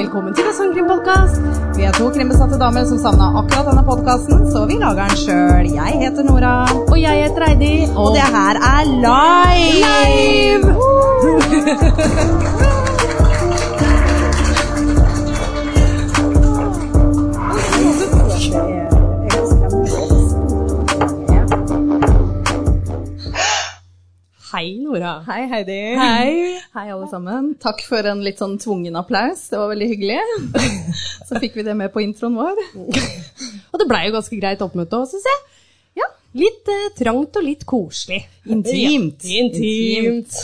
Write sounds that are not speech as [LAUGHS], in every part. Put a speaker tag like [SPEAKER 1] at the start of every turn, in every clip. [SPEAKER 1] Velkommen til Sangkrimpodkast. Vi er to krimbesatte damer som savna akkurat denne podkasten, så vi lager den sjøl. Jeg heter Nora,
[SPEAKER 2] Og jeg heter Heidi.
[SPEAKER 1] og det her er live!
[SPEAKER 2] Hei, Nora.
[SPEAKER 1] Hei, Heidi.
[SPEAKER 2] Hei.
[SPEAKER 1] Hei, alle sammen. Takk for en litt sånn tvungen applaus. Det var veldig
[SPEAKER 2] [LAUGHS]
[SPEAKER 1] hyggelig. Så fikk vi det med på introen vår.
[SPEAKER 2] Og det blei jo ganske greit oppmøte òg, syns jeg.
[SPEAKER 1] Ja.
[SPEAKER 2] Litt eh, trangt og litt koselig.
[SPEAKER 1] Intimt.
[SPEAKER 2] Ja, Intimt.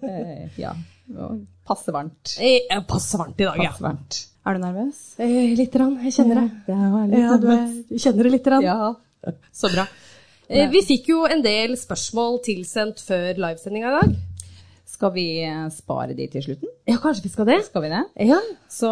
[SPEAKER 1] Eh, ja. Og Passe varmt.
[SPEAKER 2] Eh, eh, Passe varmt i dag, ja.
[SPEAKER 1] Passe varmt. Er du nervøs?
[SPEAKER 2] Eh, litt, rann, jeg kjenner det.
[SPEAKER 1] Ja,
[SPEAKER 2] Ja, du vet, du kjenner det litt. Rann.
[SPEAKER 1] Ja.
[SPEAKER 2] Så bra. Eh, vi fikk jo en del spørsmål tilsendt før livesendinga i dag.
[SPEAKER 1] Skal vi eh, spare de til slutten?
[SPEAKER 2] Ja, kanskje vi skal det?
[SPEAKER 1] Skal vi det?
[SPEAKER 2] Ja.
[SPEAKER 1] Så,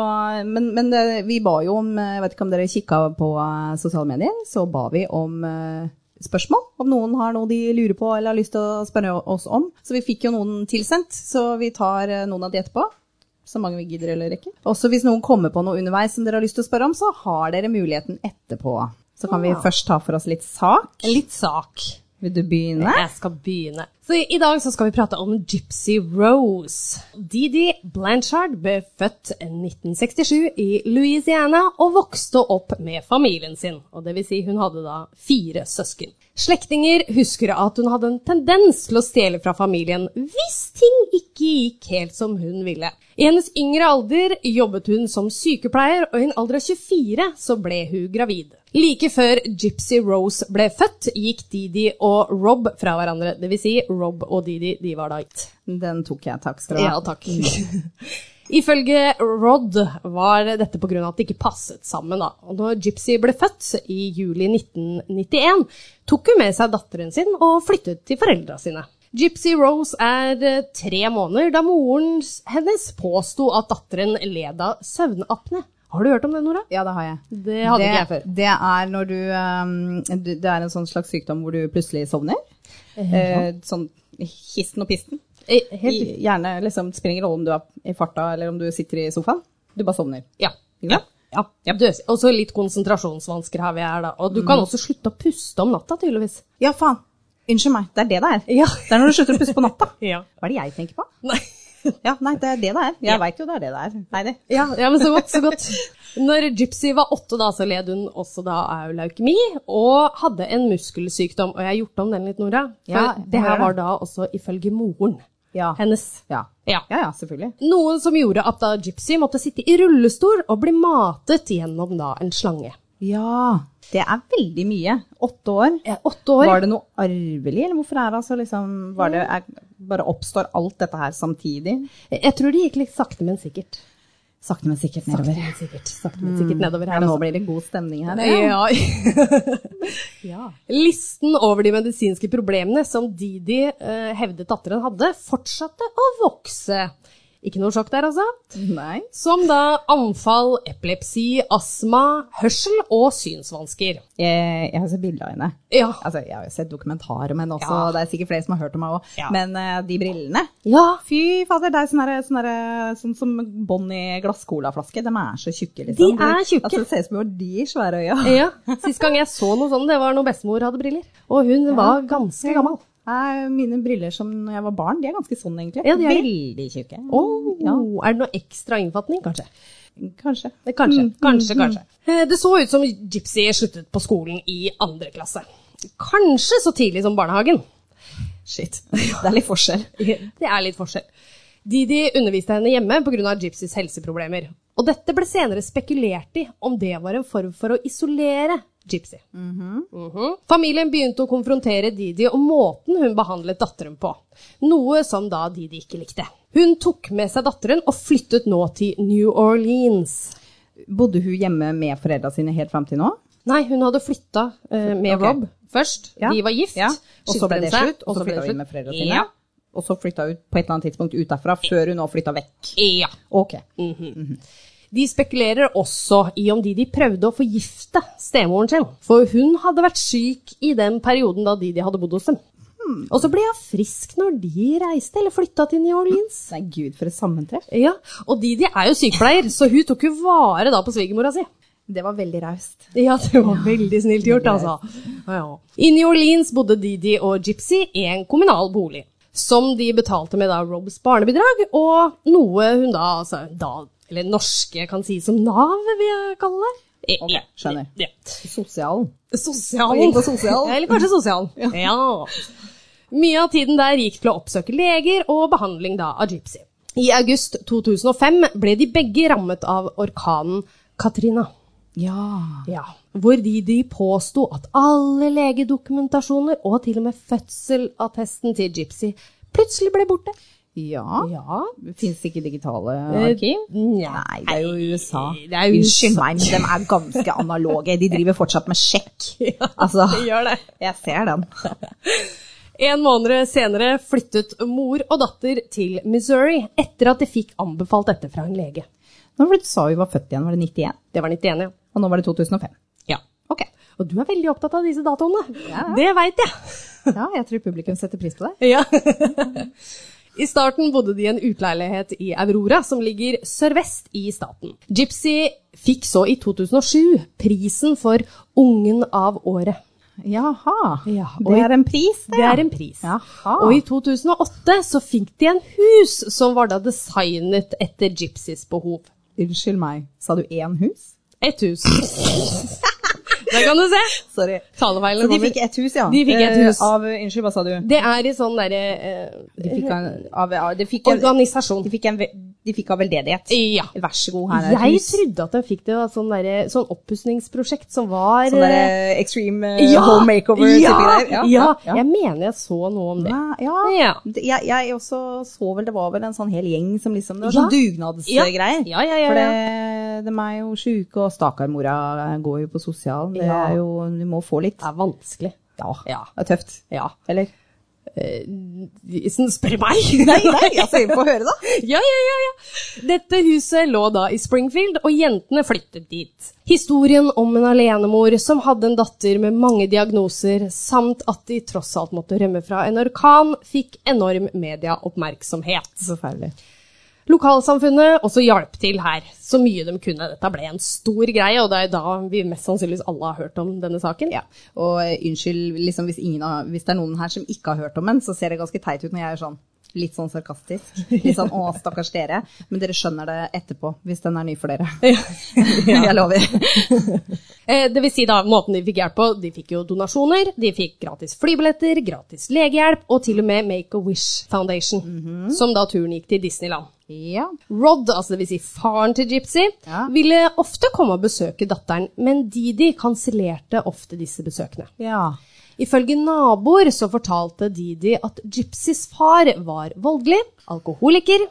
[SPEAKER 1] men men eh, vi ba jo om, eh, jeg vet ikke om dere kikka på eh, sosiale medier, så ba vi om eh, spørsmål. Om noen har noe de lurer på eller har lyst til å spørre oss om. Så vi fikk jo noen tilsendt, så vi tar eh, noen av de etterpå. Så mange vi gidder eller rekker. Også hvis noen kommer på noe underveis som dere har lyst til å spørre om, så har dere muligheten etterpå. Så kan vi
[SPEAKER 2] Ja.
[SPEAKER 1] først ta for oss litt sak.
[SPEAKER 2] En litt sak.
[SPEAKER 1] Vil du begynne?
[SPEAKER 2] Jeg skal begynne. Så i, i dag så skal vi prate om Gypsy Rose. Didi Blanchard ble født 1967 i Louisiana og vokste opp med familien sin. Og det vil si hun hadde da fire søsken. Slektinger husker at hun hadde en tendens til å stjele fra familien hvis ting ikke gikk helt som hun ville. I hennes yngre alder jobbet hun som sykepleier, og i en alder av 24 så ble hun gravid. Like før Gypsy Rose ble født, gikk Didi og Rob fra hverandre. Det vil si, Rob og Didi, de var da gitt.
[SPEAKER 1] Den tok jeg, takk skal du ha.
[SPEAKER 2] Ja, takk. [LAUGHS] Ifølge Rod var dette pga. at de ikke passet sammen. Da. Og når Gypsy ble født i juli 1991, tok hun med seg datteren sin og flyttet til foreldra sine. Gypsy Rose er eh, tre måneder da moren s- hennes påsto at datteren led av søvnapne. Har du hørt om det, Nora?
[SPEAKER 1] Ja, det har jeg.
[SPEAKER 2] Det hadde ikke jeg før.
[SPEAKER 1] Det er når du ehm, du- Det er en sånn slags sykdom hvor du plutselig sovner. Eh, sånn histen og pisten.
[SPEAKER 2] Eh, Helt
[SPEAKER 1] I, gjerne liksom spiller ingen rolle om du er i farta eller om du sitter i sofaen. Du bare sovner.
[SPEAKER 2] Ja.
[SPEAKER 1] Ikke sant?
[SPEAKER 2] Ja, Mm. døs- Og så litt konsentrasjonsvansker har vi her, da. Og du kan også slutte å puste om natta, tydeligvis.
[SPEAKER 1] Ja, faen. Unnskyld meg. Det er det det er.
[SPEAKER 2] Ja.
[SPEAKER 1] Det er når du slutter å puste på natta.
[SPEAKER 2] Ja.
[SPEAKER 1] Hva er det jeg tenker på?
[SPEAKER 2] Nei. [LAUGHS]
[SPEAKER 1] Ja, nei, det er det det er. Jeg vet veit jo det er det det er. Nei, det.
[SPEAKER 2] Ja, ja, men så godt, så godt. Når Gypsy var åtte, da, så led hun også da av leukemi og hadde en muskelsykdom. Og jeg har gjort om den litt, Nora. For
[SPEAKER 1] Ja,
[SPEAKER 2] det her
[SPEAKER 1] hører.
[SPEAKER 2] var da også ifølge moren
[SPEAKER 1] Ja.
[SPEAKER 2] hennes.
[SPEAKER 1] Ja.
[SPEAKER 2] Ja.
[SPEAKER 1] ja, ja, selvfølgelig.
[SPEAKER 2] Noe som gjorde at da Gypsy måtte sitte i rullestol og bli matet gjennom da en slange.
[SPEAKER 1] Ja. Det er veldig mye. Åtte år.
[SPEAKER 2] Eh, Åtte år.
[SPEAKER 1] Var det noe arvelig, eller hvorfor er det altså liksom var det, er, Bare oppstår alt dette her samtidig?
[SPEAKER 2] Jeg tror det gikk litt sakte, men sikkert.
[SPEAKER 1] Sakte, men sikkert
[SPEAKER 2] Sakte,
[SPEAKER 1] nedover.
[SPEAKER 2] men sikkert. Sakte, men sikkert nedover
[SPEAKER 1] Ja,
[SPEAKER 2] her.
[SPEAKER 1] nå
[SPEAKER 2] altså.
[SPEAKER 1] blir det god stemning her.
[SPEAKER 2] [LAUGHS] ja. Listen over de medisinske problemene som Didi eh, hevdet datteren hadde, fortsatte å vokse. Ikke noe sjokk der, altså.
[SPEAKER 1] Nei.
[SPEAKER 2] Som da anfall, epilepsi, astma, hørsel og synsvansker.
[SPEAKER 1] Jeg, Eh, jeg har sett bilder av henne.
[SPEAKER 2] Ja.
[SPEAKER 1] Altså, jeg har jo sett dokumentar om henne også,
[SPEAKER 2] Ja.
[SPEAKER 1] og det er sikkert flere som har hørt om henne òg.
[SPEAKER 2] Ja.
[SPEAKER 1] Men eh, de brillene
[SPEAKER 2] ja.
[SPEAKER 1] Fy fader, det er sånn derre- sånn derre- sånn som bånd i glasscolaflaske. De er så tjukke, liksom.
[SPEAKER 2] De er tjukke. Eh.
[SPEAKER 1] Altså, det ser ut som du har de i svære øya.
[SPEAKER 2] ja. Sist gang jeg så noe sånt, det var når bestemor hadde briller. Og hun var ganske gammel.
[SPEAKER 1] Nei, Mine briller som når jeg var barn, de er ganske sånn, egentlig.
[SPEAKER 2] Ja, de er det.
[SPEAKER 1] Veldig tjukke.
[SPEAKER 2] Å, Oh, Er det noe ekstra innfatning, kanskje?
[SPEAKER 1] Kanskje.
[SPEAKER 2] Eh, Kanskje, kanskje, kanskje. Eh, Det så ut som Gypsy sluttet på skolen i andre klasse. Kanskje så tidlig som barnehagen.
[SPEAKER 1] Shit. Det er litt forskjell.
[SPEAKER 2] Det er litt forskjell. Didi underviste henne hjemme pga. Gypsys helseproblemer. Og dette ble senere spekulert i om det var en form for å isolere Gypsy. Mhm. Familien begynte å konfrontere Didi om måten hun behandlet datteren på, noe som da Didi ikke likte. Hun tok med seg datteren og flyttet nå til New Orleans.
[SPEAKER 1] Bodde hun hjemme med foreldra sine helt fram til nå?
[SPEAKER 2] Nei, hun hadde flytta eh, med
[SPEAKER 1] Ok.
[SPEAKER 2] Rob først.
[SPEAKER 1] Ja.
[SPEAKER 2] De var gift.
[SPEAKER 1] Ja. Og så
[SPEAKER 2] skilte
[SPEAKER 1] ble
[SPEAKER 2] de
[SPEAKER 1] det
[SPEAKER 2] seg,
[SPEAKER 1] slutt, og så flytta hun inn med foreldra sine?
[SPEAKER 2] Ja.
[SPEAKER 1] Og så flytta hun på et eller annet tidspunkt ut derfra, før hun nå flytta vekk?
[SPEAKER 2] ja.
[SPEAKER 1] Ok.
[SPEAKER 2] De spekulerer også i om Didi prøvde å forgifte stemoren sin, for hun hadde vært syk i den perioden da Didi hadde bodd hos dem.
[SPEAKER 1] Hmm.
[SPEAKER 2] Og så ble hun frisk når de reiste eller flytta til New Orleans.
[SPEAKER 1] Nei, gud, for et sammentreff.
[SPEAKER 2] Ja, Og Didi er jo sykepleier, så hun tok jo vare da på svigermora si.
[SPEAKER 1] Det var veldig raust.
[SPEAKER 2] Ja, det var veldig snilt gjort, altså. Ja. I New Orleans bodde Didi og Gypsy i en kommunal bolig, som de betalte med da Robs barnebidrag, og noe hun da, altså, da eller norske kan si som Nav, vil jeg kalle det. Eh,
[SPEAKER 1] Ok,
[SPEAKER 2] ja,
[SPEAKER 1] skjønner.
[SPEAKER 2] Ja.
[SPEAKER 1] Sosialen.
[SPEAKER 2] Sosialen.
[SPEAKER 1] Og gikk på sosialen.
[SPEAKER 2] eller kanskje sosialen. Ja. Mye av tiden der gikk til å oppsøke leger og behandling da av Gypsy. I august 2005 ble de begge rammet av orkanen Katrina.
[SPEAKER 1] Ja.
[SPEAKER 2] Ja, hvor de, de påsto at alle legedokumentasjoner og til og med fødselattesten til Gypsy plutselig ble borte.
[SPEAKER 1] Ja.
[SPEAKER 2] Ja.
[SPEAKER 1] Fins ikke digitale
[SPEAKER 2] Arkiv?
[SPEAKER 1] arkiv? Eh, Nei, det er jo USA.
[SPEAKER 2] Det er jo
[SPEAKER 1] Unnskyld meg, men de er ganske analoge. De driver fortsatt med [LAUGHS] sjekk. Altså,
[SPEAKER 2] gjør det.
[SPEAKER 1] jeg ser den.
[SPEAKER 2] En måned senere flyttet mor og datter til Missouri etter at de fikk anbefalt dette fra en lege.
[SPEAKER 1] Nå var det du sa vi var født igjen, var det 91?
[SPEAKER 2] Det var 91, ja.
[SPEAKER 1] Og nå var det 2005.
[SPEAKER 2] ja.
[SPEAKER 1] Ok.
[SPEAKER 2] Og du er veldig opptatt av disse datoene.
[SPEAKER 1] Ja.
[SPEAKER 2] Det veit jeg.
[SPEAKER 1] Ja, jeg tror publikum setter pris på det.
[SPEAKER 2] Ja. [LAUGHS] I starten bodde de i en utleilighet i Aurora, som ligger sørvest i staten. Gypsy fikk så i 2007 prisen for Ungen av året.
[SPEAKER 1] Jaha.
[SPEAKER 2] Ja, og
[SPEAKER 1] det
[SPEAKER 2] i-
[SPEAKER 1] er en pris, det.
[SPEAKER 2] Det er en pris.
[SPEAKER 1] Jaha.
[SPEAKER 2] Og i 2008 så fikk de en hus som var da designet etter Gypsys behov.
[SPEAKER 1] Unnskyld meg, sa du én hus?
[SPEAKER 2] Et hus. [LAUGHS] Der kan du se.
[SPEAKER 1] Sorry.
[SPEAKER 2] Talefeilen
[SPEAKER 1] Så de
[SPEAKER 2] kommer.
[SPEAKER 1] fikk ett hus, ja?
[SPEAKER 2] De fikk ett
[SPEAKER 1] Eh,
[SPEAKER 2] hus.
[SPEAKER 1] Av, unnskyld, hva sa du?
[SPEAKER 2] Det er i sånn derre eh,
[SPEAKER 1] De fikk, en, av, av, de fikk, en,
[SPEAKER 2] Organisasjon.
[SPEAKER 1] de fikk, en, ve- de fikk av veldedighet.
[SPEAKER 2] Ja.
[SPEAKER 1] Vær så god, her er et
[SPEAKER 2] Jeg
[SPEAKER 1] hus.
[SPEAKER 2] trodde at de fikk det av sånn, derre- sånn oppussingsprosjekt som var
[SPEAKER 1] Sånn der
[SPEAKER 2] eh,
[SPEAKER 1] eh, extreme eh, home makeover-type
[SPEAKER 2] ja,
[SPEAKER 1] greier.
[SPEAKER 2] Ja,
[SPEAKER 1] ja.
[SPEAKER 2] Jeg mener jeg så noe om det.
[SPEAKER 1] Ja, ja.
[SPEAKER 2] Ja.
[SPEAKER 1] Det- Jeg, jeg også så vel det var vel en sånn hel gjeng som liksom Det var
[SPEAKER 2] Ja.
[SPEAKER 1] sånn dugnadsgreier.
[SPEAKER 2] Ja, ja, ja,
[SPEAKER 1] For
[SPEAKER 2] ja.
[SPEAKER 1] det, de er jo sjuke, og stakkarmora går jo på sosialen. Det
[SPEAKER 2] Ja.
[SPEAKER 1] er jo Du må få litt.
[SPEAKER 2] Det er vanskelig.
[SPEAKER 1] Ja.
[SPEAKER 2] Ja.
[SPEAKER 1] Det er tøft.
[SPEAKER 2] ja.
[SPEAKER 1] Eller?
[SPEAKER 2] Eh, sånn, Spør meg!
[SPEAKER 1] [LAUGHS] Nei, [LAUGHS] nei, altså, få høre, da.
[SPEAKER 2] [LAUGHS] Ja, ja, ja, ja. Dette huset lå da i Springfield, og jentene flyttet dit. Historien om en alenemor som hadde en datter med mange diagnoser, samt at de tross alt måtte rømme fra en orkan, fikk enorm medieoppmerksomhet.
[SPEAKER 1] [LAUGHS] Forferdelig.
[SPEAKER 2] Lokalsamfunnet også hjalp til her, så mye de kunne. Dette ble en stor greie, og det er da vi mest sannsynligvis alle har hørt om denne saken. [LAUGHS]
[SPEAKER 1] Ja. Og eh, unnskyld liksom, hvis, ingen har, hvis det er noen her som ikke har hørt om den, så ser det ganske teit ut når jeg er sånn. Litt sånn sarkastisk. Litt sånn 'å, stakkars dere'. Men dere skjønner det etterpå, hvis den er ny [LAUGHS] for dere.
[SPEAKER 2] [LAUGHS]
[SPEAKER 1] Jeg lover.
[SPEAKER 2] Eh, Det vil si da, måten de fikk hjelp på, de fikk jo donasjoner, de fikk gratis flybilletter, gratis legehjelp, og til og med Make-A-Wish Foundation,
[SPEAKER 1] Mhm.
[SPEAKER 2] som da turen gikk til Disneyland.
[SPEAKER 1] Ja.
[SPEAKER 2] Rod, altså det vil si faren til Gypsy,
[SPEAKER 1] Ja.
[SPEAKER 2] ville ofte komme og besøke datteren, men Didi kansellerte ofte disse besøkene.
[SPEAKER 1] ja.
[SPEAKER 2] Ifølge naboer så fortalte Didi at Gypsys far var voldelig, alkoholiker,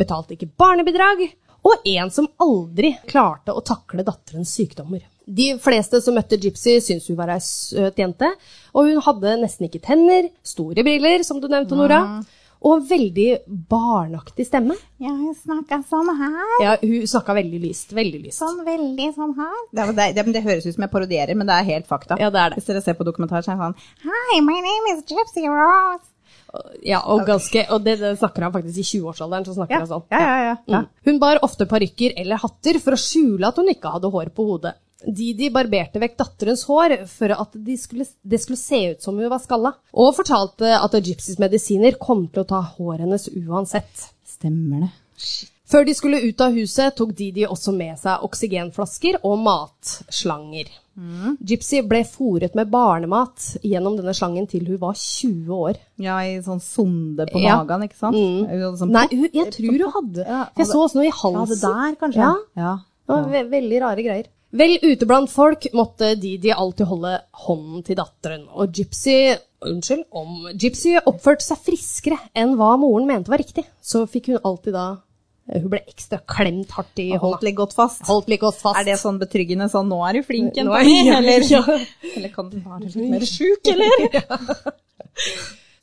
[SPEAKER 2] betalte ikke barnebidrag, og en som aldri klarte å takle datterens sykdommer. De fleste som møtte Gypsy, syntes hun var ei søt jente, og hun hadde nesten ikke tenner, store briller, som du nevnte, Nora, og en veldig barnaktig stemme.
[SPEAKER 1] Ja, hun snakka sånn her.
[SPEAKER 2] Ja, hun snakka veldig lyst, veldig lyst.
[SPEAKER 1] Sånn veldig sånn her. Det, er- det, er- men det høres ut som jeg parodierer, men det er helt fakta.
[SPEAKER 2] Ja, det er det.
[SPEAKER 1] Hvis dere ser på dokumentar, så er det sånn Hi, my name is Gypsy Rose.
[SPEAKER 2] Ja, og, ganske, og det, det snakker han faktisk i 20-årsalderen, så snakker
[SPEAKER 1] Ja,
[SPEAKER 2] han sånn.
[SPEAKER 1] ja, ja, ja, ja.
[SPEAKER 2] Mm. Hun bar ofte parykker eller hatter for å skjule at hun ikke hadde hår på hodet. Didi barberte vekk datterens hår for at de skulle, det skulle se ut som hun var skalla, og fortalte at Gypsys medisiner kom til å ta håret hennes uansett.
[SPEAKER 1] Stemmer det.
[SPEAKER 2] Før de skulle ut av huset, tok Didi også med seg oksygenflasker og matslanger.
[SPEAKER 1] Mm.
[SPEAKER 2] Gypsy ble fòret med barnemat gjennom denne slangen til hun var 20 år.
[SPEAKER 1] Ja, i sånn sonde på
[SPEAKER 2] Ja.
[SPEAKER 1] magen, ikke sant? Mm. Sånn,
[SPEAKER 2] Nei, hun, jeg tror hun hadde
[SPEAKER 1] Ja,
[SPEAKER 2] for Jeg så også noe i
[SPEAKER 1] Ja,
[SPEAKER 2] halsen.
[SPEAKER 1] det der, kanskje?
[SPEAKER 2] Ja,
[SPEAKER 1] ja.
[SPEAKER 2] det var ve veldig rare greier. Vel ute blant folk måtte Didi alltid holde hånden til datteren, og Gypsy Unnskyld, om Gypsy oppførte seg friskere enn hva moren mente var riktig, så fikk hun alltid da Hun ble ekstra klemt hardt i
[SPEAKER 1] Holdt
[SPEAKER 2] hånda.
[SPEAKER 1] litt godt fast.
[SPEAKER 2] Holdt like godt fast.
[SPEAKER 1] Er det sånn betryggende sånn 'nå er du flink,
[SPEAKER 2] Nå
[SPEAKER 1] jenta
[SPEAKER 2] er
[SPEAKER 1] mi',
[SPEAKER 2] jeg-
[SPEAKER 1] eller,
[SPEAKER 2] ja.
[SPEAKER 1] eller kan du være litt mer sjuk,
[SPEAKER 2] [LAUGHS]
[SPEAKER 1] eller?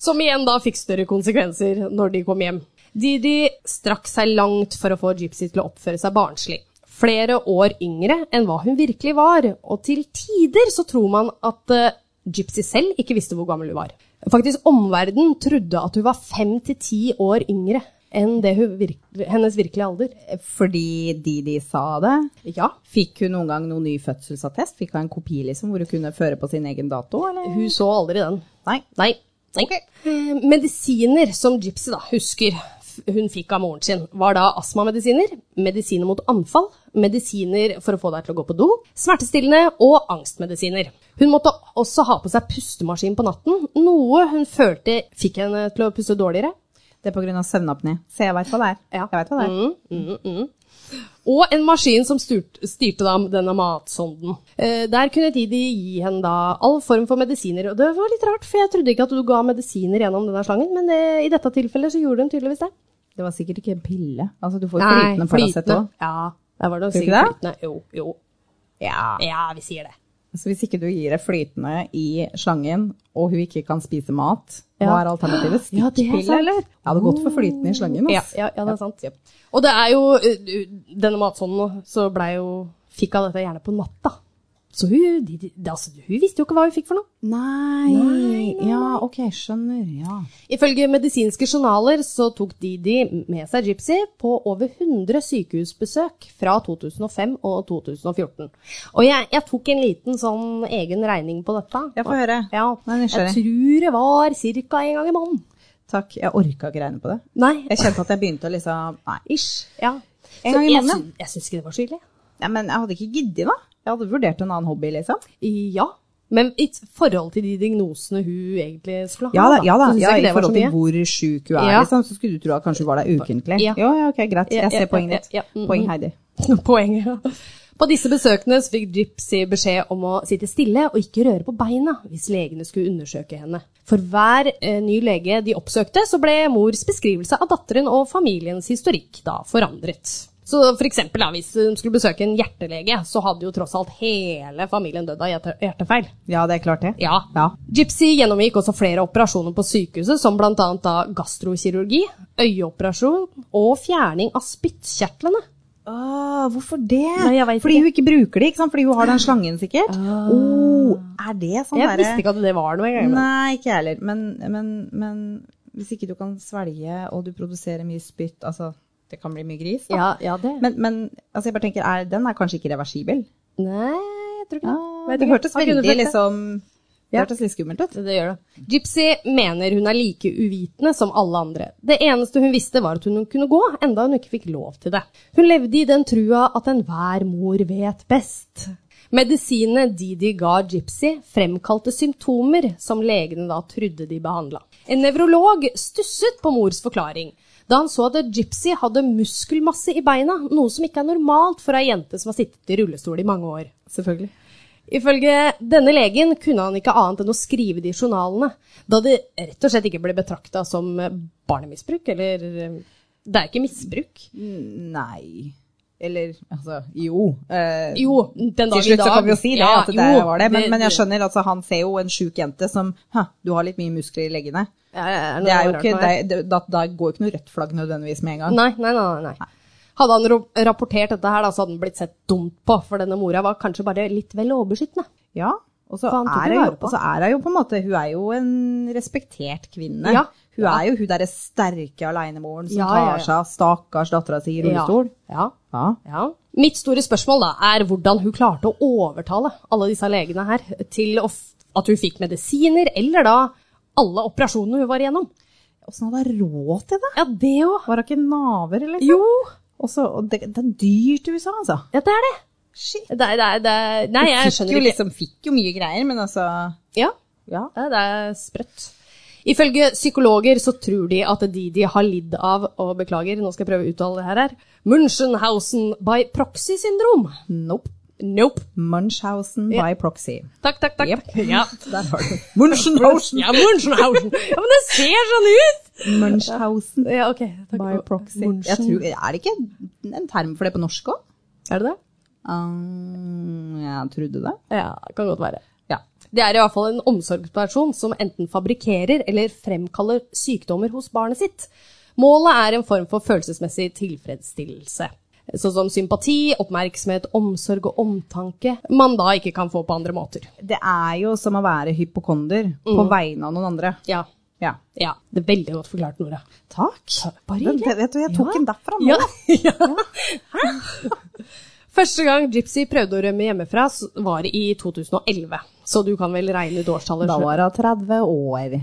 [SPEAKER 2] Som igjen da fikk større konsekvenser når de kom hjem. Didi strakk seg langt for å få Gypsy til å oppføre seg barnslig. flere år yngre enn hva hun virkelig var, og til tider så tror man at eh, Gypsy selv ikke visste hvor gammel hun var. Faktisk omverdenen trodde at hun var fem til ti år yngre enn det hun virk hennes virkelige alder.
[SPEAKER 1] Fordi Didi sa det.
[SPEAKER 2] Ja,
[SPEAKER 1] Fikk hun noen gang noen ny fødselsattest? Fikk hun en kopi liksom, hvor hun kunne føre på sin egen dato? Eller?
[SPEAKER 2] hun så aldri den.
[SPEAKER 1] Nei.
[SPEAKER 2] Nei. nei. Eh, Medisiner som Gypsy da husker f- hun fikk av moren sin, var da astmamedisiner, medisiner mot anfall, medisiner for å få deg til å gå på do, smertestillende og angstmedisiner. Hun måtte også ha på seg pustemaskin på natten, noe hun følte fikk henne til å puste dårligere.
[SPEAKER 1] Det er pga. søvnapné. Så jeg veit hva det er.
[SPEAKER 2] Ja. Mm,
[SPEAKER 1] Jeg vet hva det er.
[SPEAKER 2] Og en maskin som styrt, styrte da denne matsonden. Eh, der kunne Didi gi henne da all form for medisiner, og det var litt rart, for jeg trodde ikke at du ga medisiner gjennom denne slangen, men eh, i dette tilfellet så gjorde hun tydeligvis det.
[SPEAKER 1] Det var sikkert ikke en pille. Altså, du får jo flytende Paracet òg.
[SPEAKER 2] Ja, der var
[SPEAKER 1] Tror
[SPEAKER 2] det
[SPEAKER 1] du
[SPEAKER 2] sikkert
[SPEAKER 1] ikke
[SPEAKER 2] flytende. Jo, jo.
[SPEAKER 1] Ja.
[SPEAKER 2] Ja, vi sier det.
[SPEAKER 1] Så hvis ikke du gir det flytende i slangen, og hun ikke kan spise mat, hva
[SPEAKER 2] Ja.
[SPEAKER 1] er alternativet?
[SPEAKER 2] Ja, det er
[SPEAKER 1] Stikkpille,
[SPEAKER 2] sant.
[SPEAKER 1] eller? Jeg hadde gått for flytende i slangen.
[SPEAKER 2] Ja,
[SPEAKER 1] ass.
[SPEAKER 2] ja, ja, det er sant. Og det er jo, eh, denne matsonden så ble jo, fikk av dette gjerne på natta. Så hun, de, de, altså, hun visste jo ikke hva hun fikk for noe.
[SPEAKER 1] Nei. Ja, ok, skjønner. Ja.
[SPEAKER 2] Ifølge medisinske journaler så tok Didi med seg Gypsy på over 100 sykehusbesøk fra 2005 og 2014. Og jeg, jeg tok en liten sånn egen regning på dette.
[SPEAKER 1] Jeg får høre.
[SPEAKER 2] Ja,
[SPEAKER 1] Nå er jeg
[SPEAKER 2] jeg
[SPEAKER 1] nysgjerrig.
[SPEAKER 2] tror det var ca. en gang i måneden.
[SPEAKER 1] Takk. Jeg orka ikke regne på det.
[SPEAKER 2] Nei,
[SPEAKER 1] Jeg kjente at jeg begynte å liksom Nei.
[SPEAKER 2] ish. Ja.
[SPEAKER 1] En
[SPEAKER 2] Så
[SPEAKER 1] gang i
[SPEAKER 2] jeg
[SPEAKER 1] måneden,
[SPEAKER 2] sy- Jeg syns ikke det var så ille.
[SPEAKER 1] Nei, men jeg hadde ikke giddet, da. Jeg hadde vurdert en annen hobby, liksom.
[SPEAKER 2] Ja. Men i forhold til de diagnosene hun egentlig skulle ha,
[SPEAKER 1] Ja da, ja da.
[SPEAKER 2] så syns
[SPEAKER 1] Ja,
[SPEAKER 2] jeg
[SPEAKER 1] I
[SPEAKER 2] ikke det var
[SPEAKER 1] forhold
[SPEAKER 2] så
[SPEAKER 1] til
[SPEAKER 2] mye.
[SPEAKER 1] hvor sjuk hun er,
[SPEAKER 2] Ja.
[SPEAKER 1] liksom, så skulle du tro at kanskje hun var der ukentlig.
[SPEAKER 2] Ja.
[SPEAKER 1] Jo, ja, ok, greit.
[SPEAKER 2] Ja,
[SPEAKER 1] Jeg
[SPEAKER 2] ja,
[SPEAKER 1] ser poenget
[SPEAKER 2] ja, ja,
[SPEAKER 1] ditt.
[SPEAKER 2] ja. Mm,
[SPEAKER 1] Poeng Heidi.
[SPEAKER 2] [LAUGHS] Poenget, ja. På disse besøkene så fikk Gypsy beskjed om å sitte stille og ikke røre på beina hvis legene skulle undersøke henne. For hver eh, ny lege de oppsøkte, så ble mors beskrivelse av datteren og familiens historikk da forandret. Så for eksempel, da, hvis hun skulle besøke en hjertelege, så hadde jo tross alt hele familien dødd av hjerte- hjertefeil.
[SPEAKER 1] Ja, det er klart det.
[SPEAKER 2] Ja.
[SPEAKER 1] Ja.
[SPEAKER 2] Gypsy gjennomgikk også flere operasjoner på sykehuset, som bl.a. gastrokirurgi, øyeoperasjon og fjerning av spyttkjertlene.
[SPEAKER 1] Åh, Ah, hvorfor det?
[SPEAKER 2] Nei, jeg vet
[SPEAKER 1] Fordi
[SPEAKER 2] ikke. Ah.
[SPEAKER 1] hun ikke bruker det, ikke sant? Fordi hun har den slangen sikkert. Oh, er det sånn
[SPEAKER 2] Jeg
[SPEAKER 1] derre-
[SPEAKER 2] visste ikke at det var noe engang. men-
[SPEAKER 1] Nei, ikke jeg heller. Men, men, men hvis ikke du kan svelge, og du produserer mye spytt, altså det kan bli mye gris, da.
[SPEAKER 2] Ja, ja, det.
[SPEAKER 1] Men, men altså, jeg bare tenker, er, den er kanskje ikke reversibel?
[SPEAKER 2] Nei, jeg tror ikke
[SPEAKER 1] Ah,
[SPEAKER 2] Vet
[SPEAKER 1] det
[SPEAKER 2] ikke.
[SPEAKER 1] hørtes
[SPEAKER 2] Har ikke du
[SPEAKER 1] veldig
[SPEAKER 2] tenkt det?
[SPEAKER 1] liksom Det
[SPEAKER 2] Ja.
[SPEAKER 1] hørtes litt skummelt ut.
[SPEAKER 2] Det gjør det. Gypsy mener hun er like uvitende som alle andre. Det eneste hun visste var at hun kunne gå, enda hun ikke fikk lov til det. Hun levde i den trua at enhver mor vet best. Medisinene Didi ga Gypsy, fremkalte symptomer som legene da trodde de behandla. En nevrolog stusset på mors forklaring da han så at Gypsy hadde muskelmasse i beina, noe som ikke er normalt for ei jente som har sittet i rullestol i mange år.
[SPEAKER 1] Selvfølgelig.
[SPEAKER 2] Ifølge denne legen kunne han ikke annet enn å skrive det i journalene, da det rett og slett ikke ble betrakta som eh, barnemisbruk, eller eh, Det er ikke misbruk.
[SPEAKER 1] Nei. Eller altså, jo. Eh,
[SPEAKER 2] Jo, den dag
[SPEAKER 1] Til slutt
[SPEAKER 2] i dag.
[SPEAKER 1] så kan vi jo si det,
[SPEAKER 2] Ja,
[SPEAKER 1] at det
[SPEAKER 2] jo,
[SPEAKER 1] var det. Men,
[SPEAKER 2] det-
[SPEAKER 1] men jeg skjønner, altså, han ser jo en sjuk jente som Hæ, du har litt mye muskler i leggene.
[SPEAKER 2] Ja, ja, ja,
[SPEAKER 1] Det er jo
[SPEAKER 2] noe rart
[SPEAKER 1] ikke,
[SPEAKER 2] med
[SPEAKER 1] det, det, da, da går jo ikke noe rødt flagg nødvendigvis med en gang.
[SPEAKER 2] Nei, nei, nei. nei, nei. Hadde han ro- rapportert dette her, da, så hadde han blitt sett dumt på, for denne mora var kanskje bare litt vel overbeskyttende.
[SPEAKER 1] Ja, og så
[SPEAKER 2] For han tok
[SPEAKER 1] er
[SPEAKER 2] jo
[SPEAKER 1] hun
[SPEAKER 2] vare
[SPEAKER 1] jo-
[SPEAKER 2] på.
[SPEAKER 1] og så er hun jo på en måte Hun er jo en respektert kvinne.
[SPEAKER 2] Ja.
[SPEAKER 1] Hun er jo hun derre sterke alenemoren som
[SPEAKER 2] Ja,
[SPEAKER 1] tar
[SPEAKER 2] ja, ja.
[SPEAKER 1] seg av stakkars dattera si i rullestol.
[SPEAKER 2] Ja, ja.
[SPEAKER 1] Ja.
[SPEAKER 2] Ja. Mitt store spørsmål da, er hvordan hun klarte å overtale alle disse legene her til å f at hun fikk medisiner, eller da alle operasjonene hun var igjennom.
[SPEAKER 1] Åssen hadde hun råd til det?
[SPEAKER 2] Ja, det òg.
[SPEAKER 1] Var hun ikke naver, eller?
[SPEAKER 2] Jo,
[SPEAKER 1] Og så- og det, det er dyrt i USA, altså.
[SPEAKER 2] ja, det er det.
[SPEAKER 1] Shit.
[SPEAKER 2] det, er, det, er, det er, nei,
[SPEAKER 1] Hun
[SPEAKER 2] jeg
[SPEAKER 1] fikk
[SPEAKER 2] skjønner
[SPEAKER 1] jo
[SPEAKER 2] ikke.
[SPEAKER 1] liksom, fikk jo mye greier, men altså
[SPEAKER 2] Ja,
[SPEAKER 1] Ja.
[SPEAKER 2] Ja, det er sprøtt. Ifølge psykologer så tror de at Didi har lidd av, og beklager, nå skal jeg prøve å uttale det her, her. Munchenhausen by proxy-syndrom.
[SPEAKER 1] Nope.
[SPEAKER 2] Nope.
[SPEAKER 1] Munchhausen by proxy.
[SPEAKER 2] Takk, takk, takk.
[SPEAKER 1] Jep.
[SPEAKER 2] [LAUGHS] Ja.
[SPEAKER 1] Der har du Munchhausen!
[SPEAKER 2] ja, Munchhausen. [LAUGHS] Ja, men det ser sånn ut! [LAUGHS]
[SPEAKER 1] Munchhausen
[SPEAKER 2] Ja, ok. Takk.
[SPEAKER 1] by proxy.
[SPEAKER 2] Munchen.
[SPEAKER 1] Jeg tror, er det ikke en term for det på norsk òg?
[SPEAKER 2] Er det det?
[SPEAKER 1] Um, jeg trodde det.
[SPEAKER 2] Ja, det kan godt være.
[SPEAKER 1] Ja.
[SPEAKER 2] Det er i hvert fall en omsorgsperson som enten fabrikkerer eller fremkaller sykdommer hos barnet sitt. Målet er en form for følelsesmessig tilfredsstillelse. sånn som sympati, oppmerksomhet, omsorg og omtanke, man da ikke kan få på andre måter.
[SPEAKER 1] Det er jo som å være hypokonder på vegne av noen andre.
[SPEAKER 2] Ja.
[SPEAKER 1] Ja.
[SPEAKER 2] ja. Det er veldig godt forklart, Nora.
[SPEAKER 1] Takk.
[SPEAKER 2] Bare
[SPEAKER 1] Den-
[SPEAKER 2] hyggelig.
[SPEAKER 1] Vet du, jeg tok
[SPEAKER 2] Ja.
[SPEAKER 1] den derfra nå.
[SPEAKER 2] Ja. ja. [LAUGHS] Første gang Gypsy prøvde å rømme hjemmefra, s- var i 2011. Så du kan vel regne ut årstallet?
[SPEAKER 1] Da
[SPEAKER 2] selv.
[SPEAKER 1] var hun 30 år.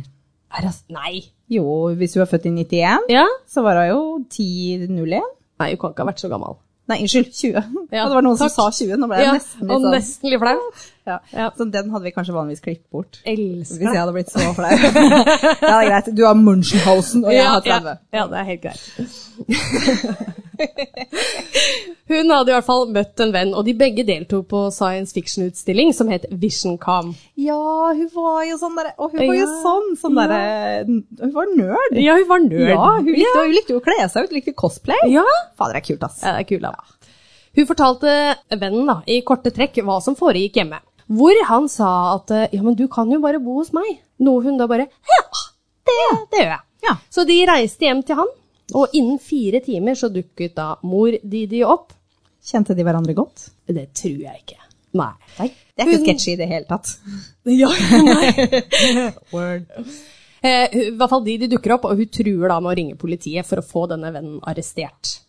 [SPEAKER 2] Er det s- Nei.
[SPEAKER 1] Jo, hvis hun er født i 91,
[SPEAKER 2] Ja?
[SPEAKER 1] så var hun jo 10.01.
[SPEAKER 2] Nei, hun kan ikke ha vært så gammel.
[SPEAKER 1] Nei, unnskyld, 20.
[SPEAKER 2] Ja,
[SPEAKER 1] det var noen
[SPEAKER 2] takk.
[SPEAKER 1] som sa 20, nå ble jeg
[SPEAKER 2] Ja,
[SPEAKER 1] nesten litt
[SPEAKER 2] og
[SPEAKER 1] sånn.
[SPEAKER 2] nesten litt flau.
[SPEAKER 1] Ja.
[SPEAKER 2] Ja.
[SPEAKER 1] Så den hadde vi kanskje vanligvis klippet bort. Hvis
[SPEAKER 2] Elsker
[SPEAKER 1] jeg
[SPEAKER 2] deg.
[SPEAKER 1] hadde blitt så flau. [LAUGHS] ja, det er greit. Du har Munchenhausen, og jeg har 30.
[SPEAKER 2] ja, ja, det er helt greit. [LAUGHS] Hun hadde i hvert fall møtt en venn, og de begge deltok på science fiction-utstilling som het VisionCom.
[SPEAKER 1] Ja, hun var jo sånn derre Og hun var jo
[SPEAKER 2] Ja.
[SPEAKER 1] sånn, sånn derre Hun var nerd.
[SPEAKER 2] Ja, hun var nerd.
[SPEAKER 1] Ja, hun likte,
[SPEAKER 2] ja.
[SPEAKER 1] hun likte jo å kle seg ut, likte cosplay.
[SPEAKER 2] ja.
[SPEAKER 1] Fader, det er kult, ass.
[SPEAKER 2] Ja, det er kul, da. Hun fortalte vennen da, i korte trekk hva som foregikk hjemme. Hvor han sa at eh, ja, men du kan jo bare bo hos meg. Noe hun da bare ja, det, det gjør jeg.
[SPEAKER 1] Ja.
[SPEAKER 2] Så de reiste hjem til han, og innen fire timer så dukket da mor Didi opp.
[SPEAKER 1] Kjente de hverandre godt?
[SPEAKER 2] Det tror jeg ikke. Nei.
[SPEAKER 1] Det er ikke
[SPEAKER 2] Hun-
[SPEAKER 1] sketsjy i det hele tatt.
[SPEAKER 2] Ja, nei.
[SPEAKER 1] Word.
[SPEAKER 2] Eh, hun- I hvert fall de de dukker opp, og hun truer da med å ringe politiet for å få denne vennen arrestert.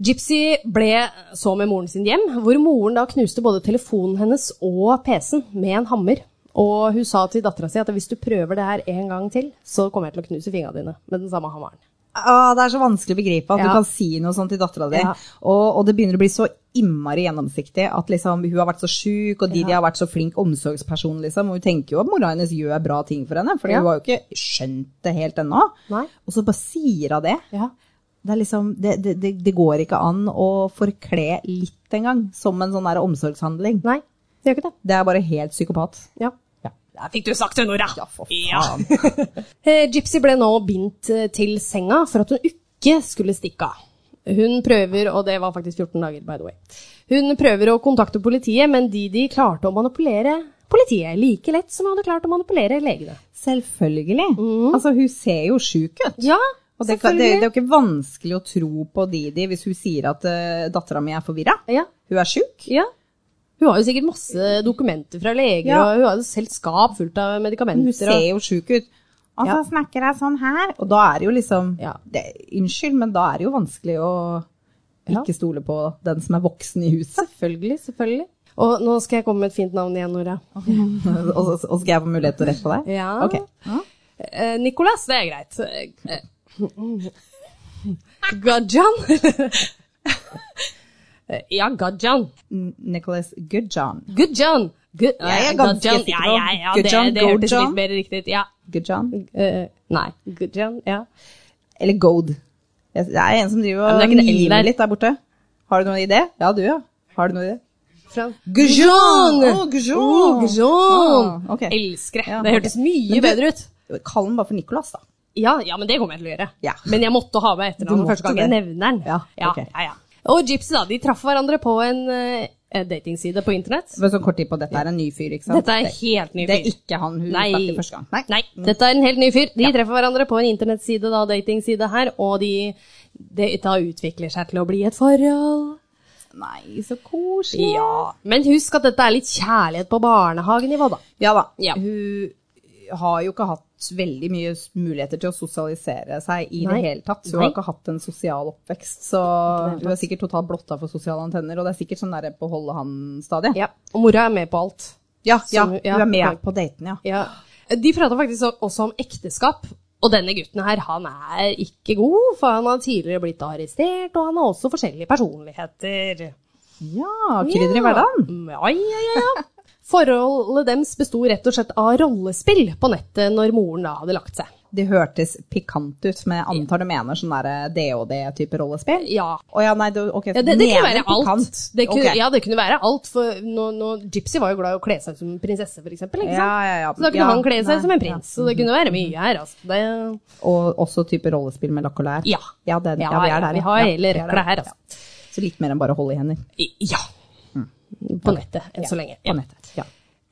[SPEAKER 2] Gypsy ble så med moren sin hjem, hvor moren da knuste både telefonen hennes og PC-en med en hammer. Og hun sa til dattera si at hvis du prøver det her en gang til, så kommer jeg til å knuse fingra dine med den samme hammeren.
[SPEAKER 1] Ah, det er så vanskelig å begripe at
[SPEAKER 2] Ja.
[SPEAKER 1] du kan si noe sånt til dattera di.
[SPEAKER 2] Ja.
[SPEAKER 1] Og, og det begynner å bli så innmari gjennomsiktig at liksom, hun har vært så sjuk, og Didi har vært så flink omsorgsperson. Liksom. Og hun tenker jo at mora hennes gjør bra ting for henne, for
[SPEAKER 2] Ja.
[SPEAKER 1] hun har jo ikke skjønt det helt ennå.
[SPEAKER 2] Nei.
[SPEAKER 1] Og så bare sier hun det.
[SPEAKER 2] Ja.
[SPEAKER 1] Det, er liksom, det, det, det, det går ikke an å forkle litt engang som en sånn der omsorgshandling.
[SPEAKER 2] Nei, det gjør ikke det.
[SPEAKER 1] Det er bare helt psykopat.
[SPEAKER 2] Ja.
[SPEAKER 1] Ja.
[SPEAKER 2] Der fikk du sagt det, Nora! Ja, for
[SPEAKER 1] faen.
[SPEAKER 2] [LAUGHS] Eh, Gypsy ble nå bindt eh, til senga for at hun ikke skulle stikke av. Hun prøver, og det var faktisk 14 dager, by the way. Hun prøver å kontakte politiet, men Didi klarte å manipulere politiet like lett som hun hadde klart å manipulere legene.
[SPEAKER 1] Selvfølgelig.
[SPEAKER 2] Mm.
[SPEAKER 1] Altså, hun ser jo sjuk ut.
[SPEAKER 2] Ja,
[SPEAKER 1] Og det, kan, det, det er jo ikke vanskelig å tro på Didi hvis hun sier at uh, dattera mi er forvirra.
[SPEAKER 2] Ja,
[SPEAKER 1] Hun er sjuk.
[SPEAKER 2] ja. Hun har jo sikkert masse dokumenter fra leger,
[SPEAKER 1] Ja.
[SPEAKER 2] og hun har jo selv skap fullt av
[SPEAKER 1] Hun
[SPEAKER 2] medikamenter.
[SPEAKER 1] ser
[SPEAKER 2] Og,
[SPEAKER 1] jo sjuk ut. Og så
[SPEAKER 2] Ja.
[SPEAKER 1] snakker jeg sånn her. Og da er det jo liksom
[SPEAKER 2] Ja.
[SPEAKER 1] det, Unnskyld, men da er det jo vanskelig å
[SPEAKER 2] Ja.
[SPEAKER 1] ikke stole på den som er voksen i huset. [LAUGHS]
[SPEAKER 2] selvfølgelig, selvfølgelig. Og nå skal jeg komme med et fint navn igjen, Nora.
[SPEAKER 1] og, så- og skal jeg få mulighet til å rette på deg?
[SPEAKER 2] Ja.
[SPEAKER 1] Ok.
[SPEAKER 2] Eh, Nicolas, det er
[SPEAKER 1] [LAUGHS]
[SPEAKER 2] greit. Eh, Gajan. Eh, ja, Gajan.
[SPEAKER 1] N- Nicholas Goodjohn.
[SPEAKER 2] Gujan. Gu
[SPEAKER 1] Jeg er ganske
[SPEAKER 2] Gajan.
[SPEAKER 1] sikker
[SPEAKER 2] Ja,
[SPEAKER 1] på
[SPEAKER 2] ja, ja, det,
[SPEAKER 1] Gujan,
[SPEAKER 2] det hørtes
[SPEAKER 1] Gojan.
[SPEAKER 2] litt mer riktig ut. Ja.
[SPEAKER 1] Goodjohn?
[SPEAKER 2] Eh, nei, Gujan, ja.
[SPEAKER 1] Eller Goad. Jeg- Det er en som driver
[SPEAKER 2] men
[SPEAKER 1] og
[SPEAKER 2] det er ikke det L der.
[SPEAKER 1] niver litt der borte. Har du noen idé? Ja, du, ja. Har du noen idé?
[SPEAKER 2] Fra
[SPEAKER 1] Gujan!
[SPEAKER 2] Gujan!
[SPEAKER 1] Å, Gujan!
[SPEAKER 2] Å, Gujan!
[SPEAKER 1] Ah, ok.
[SPEAKER 2] Elsker det.
[SPEAKER 1] Ja,
[SPEAKER 2] Det
[SPEAKER 1] ok.
[SPEAKER 2] hørtes mye
[SPEAKER 1] Men du-
[SPEAKER 2] bedre ut.
[SPEAKER 1] Kall den bare for Nicholas, da.
[SPEAKER 2] Ja, ja, men det kommer jeg til å gjøre.
[SPEAKER 1] Ja.
[SPEAKER 2] Men jeg måtte ha med
[SPEAKER 1] Du
[SPEAKER 2] etternavnet
[SPEAKER 1] måtte
[SPEAKER 2] første gang jeg
[SPEAKER 1] det.
[SPEAKER 2] nevner den.
[SPEAKER 1] Ja,
[SPEAKER 2] ja,
[SPEAKER 1] ok.
[SPEAKER 2] ja, ja. Og Gypsy, da. De traff hverandre på en eh, datingside på internett.
[SPEAKER 1] Men sånn kort tid på at dette er en ny fyr, ikke sant?
[SPEAKER 2] Dette er helt ny fyr.
[SPEAKER 1] Det er ikke han hun
[SPEAKER 2] Nei.
[SPEAKER 1] snakket første gang. Nei. Mm.
[SPEAKER 2] Nei, dette er en helt ny fyr. De treffer hverandre på en internettside, da, datingside her, og de, det da utvikler seg til å bli et forhold.
[SPEAKER 1] Nei, så koselig.
[SPEAKER 2] Ja. Men husk at dette er litt kjærlighet på barnehagenivå, da.
[SPEAKER 1] Ja da.
[SPEAKER 2] Ja.
[SPEAKER 1] Hun har jo ikke hatt veldig mye s- muligheter til å sosialisere seg i
[SPEAKER 2] Nei.
[SPEAKER 1] det hele tatt. Hun
[SPEAKER 2] Nei.
[SPEAKER 1] har ikke hatt en sosial oppvekst, så
[SPEAKER 2] det hele
[SPEAKER 1] hun er sikkert totalt blotta for sosiale antenner, og det er sikkert sånn der på holde han-stadiet.
[SPEAKER 2] Og mora er med på alt.
[SPEAKER 1] Ja,
[SPEAKER 2] Som
[SPEAKER 1] ja,
[SPEAKER 2] hun-
[SPEAKER 1] hun
[SPEAKER 2] ja.
[SPEAKER 1] er med på daten, ja.
[SPEAKER 2] Ja. De prata faktisk o- også om ekteskap. Og denne gutten her, han er ikke god, for han har tidligere blitt arrestert, og han har også forskjellige personligheter.
[SPEAKER 1] Ja, krydder i hverdagen.
[SPEAKER 2] Mm, Ja, ja, ja, ja. Forholdet deres besto rett og slett av rollespill på nettet når moren da hadde lagt seg.
[SPEAKER 1] Det hørtes pikant ut, men jeg antar du mener sånn der DOD-type rollespill?
[SPEAKER 2] Ja.
[SPEAKER 1] Å ja, nei, du, ok.
[SPEAKER 2] Ja, det, det kunne
[SPEAKER 1] mener
[SPEAKER 2] være alt.
[SPEAKER 1] pikant.
[SPEAKER 2] Det kunne,
[SPEAKER 1] Ok.
[SPEAKER 2] Ja, det kunne være alt, for nå, nå, Gypsy var jo glad i å kle seg ut som prinsesse, for eksempel. Ikke sant?
[SPEAKER 1] Ja, ja, ja.
[SPEAKER 2] Så da kunne
[SPEAKER 1] Ja,
[SPEAKER 2] han kle seg
[SPEAKER 1] nei,
[SPEAKER 2] ut som en prins, så det kunne være mye her. Altså. Det,
[SPEAKER 1] Og også type rollespill med lakk og lær?
[SPEAKER 2] Ja.
[SPEAKER 1] Ja, det, ja, vi er der.
[SPEAKER 2] vi har
[SPEAKER 1] ja.
[SPEAKER 2] hele
[SPEAKER 1] vi er
[SPEAKER 2] rekla
[SPEAKER 1] der.
[SPEAKER 2] her, altså.
[SPEAKER 1] Så litt mer enn bare å holde i hender
[SPEAKER 2] I- Ja. På nettet, enn så lenge.
[SPEAKER 1] på nettet. Mm. Ja.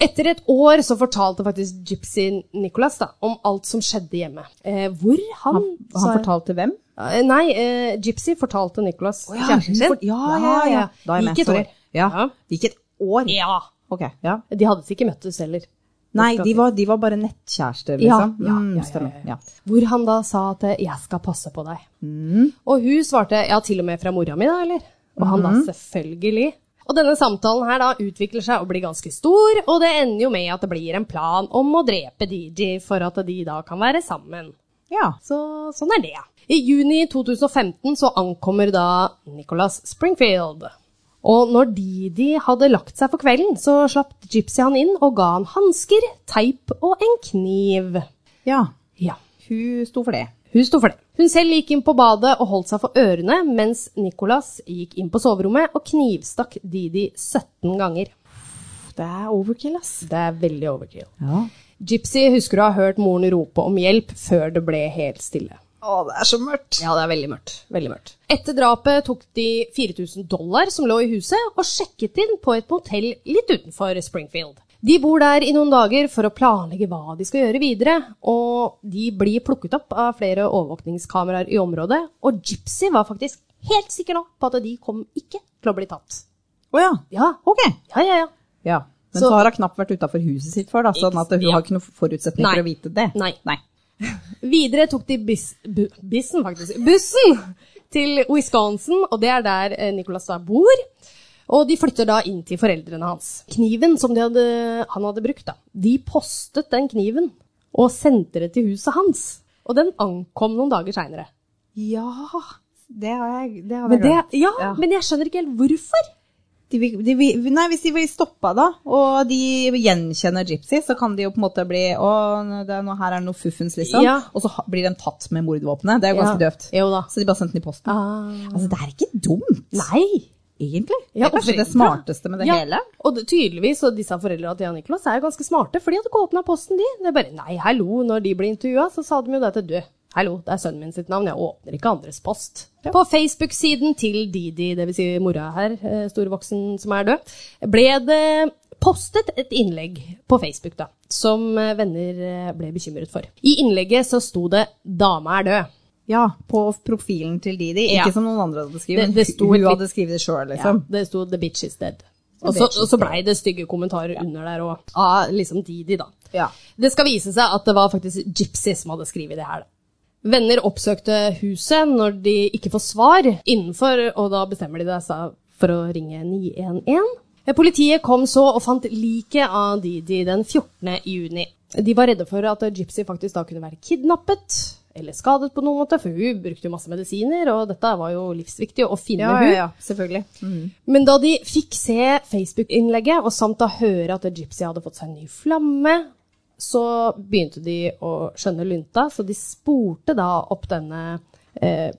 [SPEAKER 2] Etter et år så fortalte faktisk Gypsy Nicholas da, om alt som skjedde hjemme. Eh, hvor han,
[SPEAKER 1] Han, han fortalte hvem?
[SPEAKER 2] Eh, Nei, eh, Gypsy fortalte Nicholas
[SPEAKER 1] Å ja, hun fort- ja, ja, ja. Da er jeg
[SPEAKER 2] Gikk
[SPEAKER 1] med.
[SPEAKER 2] et
[SPEAKER 1] Sorry.
[SPEAKER 2] år.
[SPEAKER 1] Ja.
[SPEAKER 2] Ja.
[SPEAKER 1] Det gikk et år?
[SPEAKER 2] Ja.
[SPEAKER 1] Ok, ja.
[SPEAKER 2] De hadde ikke møttes heller.
[SPEAKER 1] Nei, de var, de var bare nettkjærester, liksom.
[SPEAKER 2] Ja, ja,
[SPEAKER 1] Mm,
[SPEAKER 2] ja, ja,
[SPEAKER 1] stemmer.
[SPEAKER 2] ja, ja. Hvor han da sa at eh, 'jeg skal passe på deg'.
[SPEAKER 1] Mm.
[SPEAKER 2] Og hun svarte 'ja, til og med fra mora mi', da, eller? Og han da
[SPEAKER 1] Mm.
[SPEAKER 2] selvfølgelig. Og denne samtalen her da utvikler seg og blir ganske stor, og det ender jo med at det blir en plan om å drepe DJ for at de da kan være sammen.
[SPEAKER 1] Ja.
[SPEAKER 2] Så sånn er det. I juni 2015 så ankommer da Nicholas Springfield. Og når Didi hadde lagt seg for kvelden, så slapp Gypsy han inn og ga han hansker, teip og en kniv.
[SPEAKER 1] ja.
[SPEAKER 2] Ja,
[SPEAKER 1] Hun sto for det.
[SPEAKER 2] hun sto for det. Hun selv gikk inn på badet og holdt seg for ørene, mens Nicholas gikk inn på soverommet og knivstakk Didi 17 ganger.
[SPEAKER 1] Det er overkill, ass.
[SPEAKER 2] Det er veldig overkill.
[SPEAKER 1] Ja.
[SPEAKER 2] Gypsy husker å ha hørt moren rope om hjelp før det ble helt stille.
[SPEAKER 1] Å, det er så mørkt.
[SPEAKER 2] Ja, det er veldig mørkt. Veldig mørkt. Etter drapet tok de 4000 dollar som lå i huset, og sjekket inn på et motell litt utenfor Springfield. De bor der i noen dager for å planlegge hva de skal gjøre videre, og de blir plukket opp av flere overvåkningskameraer i området, og Gypsy var faktisk helt sikker nå på at de kom ikke til å bli tatt.
[SPEAKER 1] Å ja.
[SPEAKER 2] Ja,
[SPEAKER 1] Ok.
[SPEAKER 2] ja, ja. ja.
[SPEAKER 1] Ja. Men
[SPEAKER 2] Så-
[SPEAKER 1] så, har hun knapt vært utafor huset sitt før, da, sånn at hun
[SPEAKER 2] Ja.
[SPEAKER 1] har ikke noen forutsetning
[SPEAKER 2] Nei.
[SPEAKER 1] for å vite det.
[SPEAKER 2] Nei. Videre tok de bis, bu, bissen, faktisk, bussen til Wisconsin, og det er der eh, Nicholas da bor. Og de flytter da inn til foreldrene hans. Kniven som de hadde, han hadde brukt, da, de postet den kniven og sendte det til huset hans. Og den ankom noen dager seinere.
[SPEAKER 1] Ja, det har jeg, det har jeg
[SPEAKER 2] Men, det-
[SPEAKER 1] glemt.
[SPEAKER 2] ja,
[SPEAKER 1] Ja.
[SPEAKER 2] men jeg skjønner ikke helt hvorfor.
[SPEAKER 1] De, vil- de, vil- nei, hvis de blir stoppa da, og de gjenkjenner Gypsy, så kan de jo på en måte bli Å, det er noe, her er det noe fuffens, liksom.
[SPEAKER 2] Ja.
[SPEAKER 1] Og så ha- blir de tatt med mordvåpenet. Det er jo ganske
[SPEAKER 2] Ja.
[SPEAKER 1] døvt.
[SPEAKER 2] Jo da.
[SPEAKER 1] Så de bare sendte den i posten.
[SPEAKER 2] Ah.
[SPEAKER 1] Altså, det er ikke dumt,
[SPEAKER 2] Nei.
[SPEAKER 1] egentlig.
[SPEAKER 2] Ja,
[SPEAKER 1] det er kanskje det
[SPEAKER 2] og foreldre.
[SPEAKER 1] smarteste med det
[SPEAKER 2] Ja,
[SPEAKER 1] hele.
[SPEAKER 2] Og det, tydeligvis, og disse foreldra til Jan Nicholas er jo ganske smarte, for de hadde ikke åpna posten, de. Det er bare nei, hallo, når de ble intervjua, så sa de jo det til du. Hallo, det er sønnen min sitt navn, jeg åpner ikke andres post. På Facebook-siden til Didi, dvs. Si mora her, eh, storvoksen som er død, ble det postet et innlegg på Facebook da, som eh, venner eh, ble bekymret for. I innlegget så sto det 'Dama er død'.
[SPEAKER 1] Ja, på profilen til Didi.
[SPEAKER 2] Ja.
[SPEAKER 1] Ikke som noen andre hadde skrevet,
[SPEAKER 2] Det-
[SPEAKER 1] men
[SPEAKER 2] det
[SPEAKER 1] hun-
[SPEAKER 2] sto et
[SPEAKER 1] hun
[SPEAKER 2] litt-
[SPEAKER 1] hadde skrevet det sjøl, liksom.
[SPEAKER 2] Ja, det sto 'The bitch is dead'.
[SPEAKER 1] The
[SPEAKER 2] Og så,
[SPEAKER 1] bitch is
[SPEAKER 2] og så blei det stygge kommentarer under der òg, av liksom Didi, da.
[SPEAKER 1] Ja.
[SPEAKER 2] Det skal vise seg at det var faktisk Gypsy som hadde skrevet det her. da. Venner oppsøkte huset når de ikke får svar innenfor, og da bestemmer de seg for å ringe 911. Eh, Politiet kom så og fant liket av Didi den 14. juni. De var redde for at Gypsy faktisk da kunne være kidnappet eller skadet på noen måte, for hun brukte jo masse medisiner, og dette var jo livsviktig å finne
[SPEAKER 1] Ja,
[SPEAKER 2] hun.
[SPEAKER 1] ja, ja, selvfølgelig.
[SPEAKER 2] Men da de fikk se Facebook-innlegget, og samt da høre at Gypsy hadde fått seg en ny flamme, så begynte de å skjønne lunta, så de spurte da opp denne eh,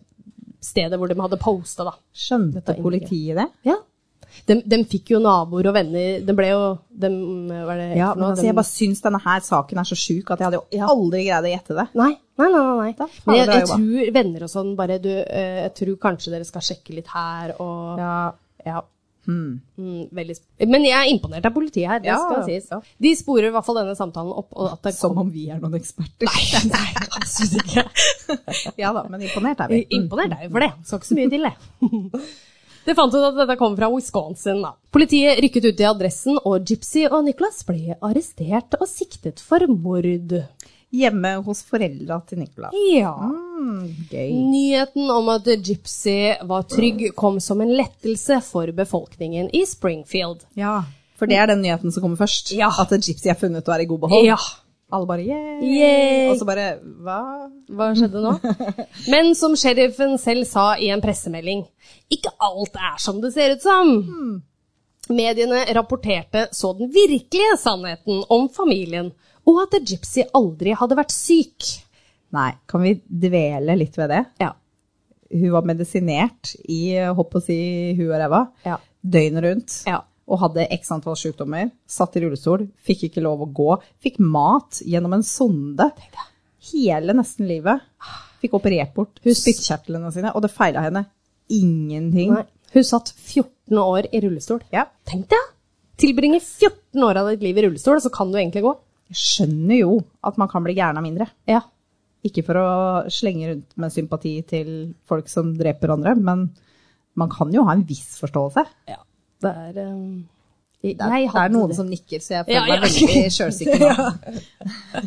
[SPEAKER 2] stedet hvor de hadde posta, da.
[SPEAKER 1] Skjønte
[SPEAKER 2] innlegget.
[SPEAKER 1] politiet det?
[SPEAKER 2] Ja. De, de fikk jo naboer og venner. De ble jo de, Hva er det
[SPEAKER 1] Ja,
[SPEAKER 2] for
[SPEAKER 1] men
[SPEAKER 2] noe?
[SPEAKER 1] altså,
[SPEAKER 2] De-
[SPEAKER 1] jeg bare syns denne her saken er så sjuk at jeg hadde jo aldri greid å gjette det.
[SPEAKER 2] Nei, nei, nei. nei, nei.
[SPEAKER 1] faen,
[SPEAKER 2] Men jeg,
[SPEAKER 1] bra
[SPEAKER 2] jeg
[SPEAKER 1] jobba.
[SPEAKER 2] tror venner og sånn bare du, eh, Jeg tror kanskje dere skal sjekke litt her og
[SPEAKER 1] Ja. Hmm.
[SPEAKER 2] Ja. Mm, veldig sp Men jeg er imponert av politiet her, det
[SPEAKER 1] Ja,
[SPEAKER 2] skal sies. De sporer i hvert fall denne samtalen opp. Og at det
[SPEAKER 1] Som om vi er noen eksperter.
[SPEAKER 2] [LAUGHS] Nei, nei, absolutt ikke.
[SPEAKER 1] [LAUGHS]
[SPEAKER 2] [LAUGHS]
[SPEAKER 1] Ja da, men [LAUGHS] imponert er vi.
[SPEAKER 2] Imponert er vi for det. Skal ikke så mye til, det. [LAUGHS] Det fant ut at dette kom fra Wisconsin. da. Politiet rykket ut i adressen, og Gypsy og Nicholas ble arrestert og siktet for mord.
[SPEAKER 1] Mm. Hjemme hos foreldra til Nicolas. Hmm,
[SPEAKER 2] Ja.
[SPEAKER 1] Gøy.
[SPEAKER 2] Nyheten om at Gypsy var trygg, kom som en lettelse for befolkningen i Springfield.
[SPEAKER 1] Ja, for det er den nyheten som kommer først.
[SPEAKER 2] Ja.
[SPEAKER 1] At en Gypsy er funnet og er i god behold.
[SPEAKER 2] Ja.
[SPEAKER 1] Alle bare yeah.
[SPEAKER 2] Yay.
[SPEAKER 1] Og så bare hva?
[SPEAKER 2] Hva skjedde
[SPEAKER 1] [LAUGHS]
[SPEAKER 2] nå? Men som sheriffen selv sa i en pressemelding, ikke alt er som det ser ut som.
[SPEAKER 1] Hmm.
[SPEAKER 2] Mediene rapporterte så den virkelige sannheten om familien, og at Gypsy aldri hadde vært syk.
[SPEAKER 1] Nei, kan vi dvele litt ved det?
[SPEAKER 2] Ja.
[SPEAKER 1] Hun var medisinert i hopp og si hu og ræva
[SPEAKER 2] Ja.
[SPEAKER 1] døgnet rundt.
[SPEAKER 2] Ja.
[SPEAKER 1] Og hadde x antall sykdommer. Satt i rullestol. Fikk ikke lov å gå. Fikk mat gjennom en sonde. Hele nesten livet. Fikk operert bort spyttkjertlene sine, og det feila henne ingenting.
[SPEAKER 2] Nei. Hun satt 14 år i rullestol.
[SPEAKER 1] Ja.
[SPEAKER 2] Tenk deg! Tilbringe 14 år av ditt liv i rullestol, så kan du egentlig gå.
[SPEAKER 1] Jeg skjønner jo at man kan bli gæren av mindre.
[SPEAKER 2] Ja.
[SPEAKER 1] Ikke for å slenge rundt med sympati til folk som dreper andre, men man kan jo ha en viss forståelse.
[SPEAKER 2] ja. Det er um, jeg,
[SPEAKER 1] ehm, Det er,
[SPEAKER 2] jeg
[SPEAKER 1] det er
[SPEAKER 2] hadde
[SPEAKER 1] noen
[SPEAKER 2] det.
[SPEAKER 1] som nikker, så jeg
[SPEAKER 2] Ja,
[SPEAKER 1] føler meg
[SPEAKER 2] ja.
[SPEAKER 1] veldig sjølsikker
[SPEAKER 2] [LAUGHS]
[SPEAKER 1] nå.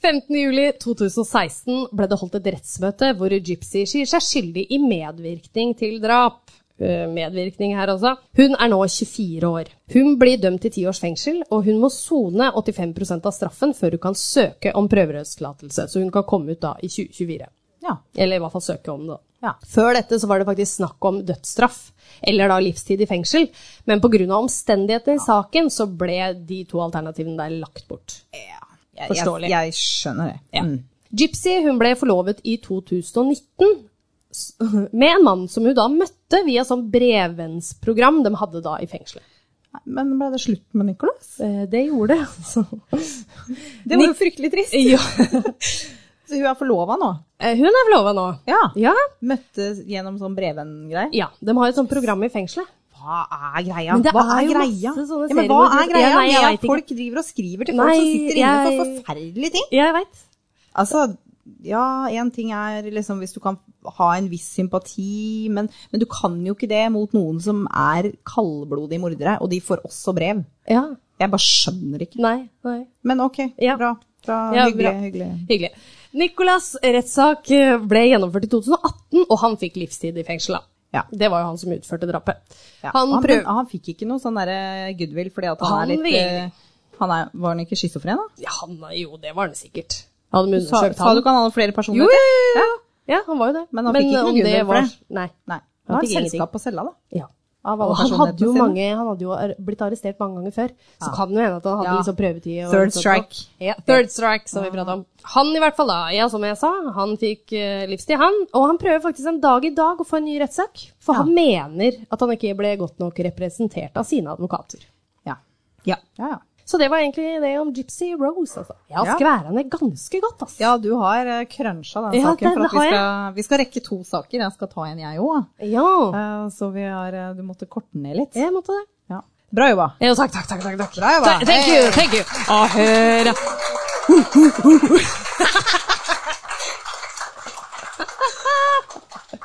[SPEAKER 2] 15. juli 2016 ble det holdt et rettsmøte hvor Gypsy sier seg skyldig i medvirkning til drap. Eh, Medvirkning her altså. Hun er nå 24 år. Hun blir dømt til ti års fengsel, og hun må sone 85 av straffen før hun kan søke om prøverørstillatelse. Så hun kan komme ut da i 2024.
[SPEAKER 1] Ja.
[SPEAKER 2] Eller i hvert fall søke om det. da.
[SPEAKER 1] Ja.
[SPEAKER 2] Før dette så var det faktisk snakk om dødsstraff, eller da livstid i fengsel. Men pga. omstendighetene i saken så ble de to alternativene der lagt bort.
[SPEAKER 1] Jeg,
[SPEAKER 2] Forståelig.
[SPEAKER 1] Jeg, jeg skjønner det.
[SPEAKER 2] Ja.
[SPEAKER 1] Mm.
[SPEAKER 2] Gypsy hun ble forlovet i 2019 s- [LAUGHS] med en mann som hun da møtte via sånn brevvennsprogram de hadde da i fengselet.
[SPEAKER 1] Nei, Men ble det slutt med Nicolas?
[SPEAKER 2] Eh, Det gjorde det, altså.
[SPEAKER 1] Det var jo fryktelig trist.
[SPEAKER 2] [LAUGHS] Ja.
[SPEAKER 1] Så hun er forlova nå?
[SPEAKER 2] Eh, Hun er forlova nå.
[SPEAKER 1] Ja.
[SPEAKER 2] Ja.
[SPEAKER 1] Møttes gjennom sånn Breven-greie?
[SPEAKER 2] ja. De har jo et sånt program i fengselet.
[SPEAKER 1] Hva er greia?
[SPEAKER 2] Men det
[SPEAKER 1] hva
[SPEAKER 2] er
[SPEAKER 1] er
[SPEAKER 2] jo
[SPEAKER 1] greia?
[SPEAKER 2] masse sånne
[SPEAKER 1] Ja, men
[SPEAKER 2] serier
[SPEAKER 1] hva
[SPEAKER 2] hvor
[SPEAKER 1] er
[SPEAKER 2] du-
[SPEAKER 1] greia
[SPEAKER 2] Ja, nei, jeg
[SPEAKER 1] med
[SPEAKER 2] vet
[SPEAKER 1] at
[SPEAKER 2] ikke.
[SPEAKER 1] folk driver og skriver til folk som
[SPEAKER 2] Nei,
[SPEAKER 1] sitter inne for
[SPEAKER 2] jeg-
[SPEAKER 1] forferdelige ting?
[SPEAKER 2] Jeg veit.
[SPEAKER 1] Altså, ja, én ting er liksom hvis du kan ha en viss sympati, men, men du kan jo ikke det mot noen som er kaldblodige mordere, og de får også brev.
[SPEAKER 2] Ja.
[SPEAKER 1] Jeg bare skjønner ikke.
[SPEAKER 2] Nei. Nei.
[SPEAKER 1] Men ok,
[SPEAKER 2] Ja.
[SPEAKER 1] bra. bra.
[SPEAKER 2] Ja,
[SPEAKER 1] hyggelig.
[SPEAKER 2] bra.
[SPEAKER 1] hyggelig.
[SPEAKER 2] Hyggelig. Nicolas' rettssak eh, ble gjennomført i 2018, og han fikk livstid i fengsel. da.
[SPEAKER 1] Ja.
[SPEAKER 2] Det var jo han som utførte drapet.
[SPEAKER 1] Ja.
[SPEAKER 2] Han
[SPEAKER 1] Han,
[SPEAKER 2] prøv-
[SPEAKER 1] men han fikk ikke noe sånn derre goodwill fordi at han,
[SPEAKER 2] Han
[SPEAKER 1] er litt
[SPEAKER 2] vil-
[SPEAKER 1] eh, han er, Var han ikke schizofren, da?
[SPEAKER 2] Ja, han, jo, det var han sikkert. Hadde de
[SPEAKER 1] Sa,
[SPEAKER 2] undersøkt
[SPEAKER 1] sa du
[SPEAKER 2] han?
[SPEAKER 1] ikke han hadde flere personer?
[SPEAKER 2] Jo, jo, jo, jo.
[SPEAKER 1] Ja.
[SPEAKER 2] Ja, han var jo det.
[SPEAKER 1] Men han fikk ikke noe
[SPEAKER 2] om
[SPEAKER 1] gunnel
[SPEAKER 2] det
[SPEAKER 1] for
[SPEAKER 2] var-
[SPEAKER 1] det.
[SPEAKER 2] Nei.
[SPEAKER 1] Nei.
[SPEAKER 2] Han
[SPEAKER 1] Han har
[SPEAKER 2] fikk ingenting.
[SPEAKER 1] selskap på cella, da.
[SPEAKER 2] Ja.
[SPEAKER 1] Av
[SPEAKER 2] Og
[SPEAKER 1] alle
[SPEAKER 2] han hadde jo
[SPEAKER 1] personlighetene sine.
[SPEAKER 2] mange, han hadde jo ar- blitt arrestert mange ganger før, så
[SPEAKER 1] Ja.
[SPEAKER 2] kan det jo hende at han hadde
[SPEAKER 1] Ja.
[SPEAKER 2] liksom prøvetid. og-
[SPEAKER 1] Third strike.
[SPEAKER 2] Ja, third strike, som vi pratet om. Han i hvert fall, da, ja, som jeg sa, han fikk eh, livstid, han. Og han prøver faktisk en dag i dag å få en ny rettssak, for
[SPEAKER 1] Ja.
[SPEAKER 2] han mener at han ikke ble godt nok representert av sine advokater.
[SPEAKER 1] Ja. Ja. Ja, ja.
[SPEAKER 2] Så det var egentlig det om Gypsy Rose, altså. Jeg har
[SPEAKER 1] Ja.
[SPEAKER 2] skværet ned ganske godt, altså.
[SPEAKER 1] ja, du har eh, cruncha den
[SPEAKER 2] Ja,
[SPEAKER 1] saken.
[SPEAKER 2] den
[SPEAKER 1] For at
[SPEAKER 2] har
[SPEAKER 1] vi
[SPEAKER 2] jeg.
[SPEAKER 1] skal, vi skal rekke to saker. Jeg skal ta en, jeg òg.
[SPEAKER 2] Ja,
[SPEAKER 1] Så vi har eh, Du måtte korte den ned litt.
[SPEAKER 2] jeg måtte det.
[SPEAKER 1] Ja. Bra jobba.
[SPEAKER 2] Ja, takk, takk, takk, takk, takk.
[SPEAKER 1] Bra jobba.
[SPEAKER 2] Ta- Thank you, thank you. Å, hør.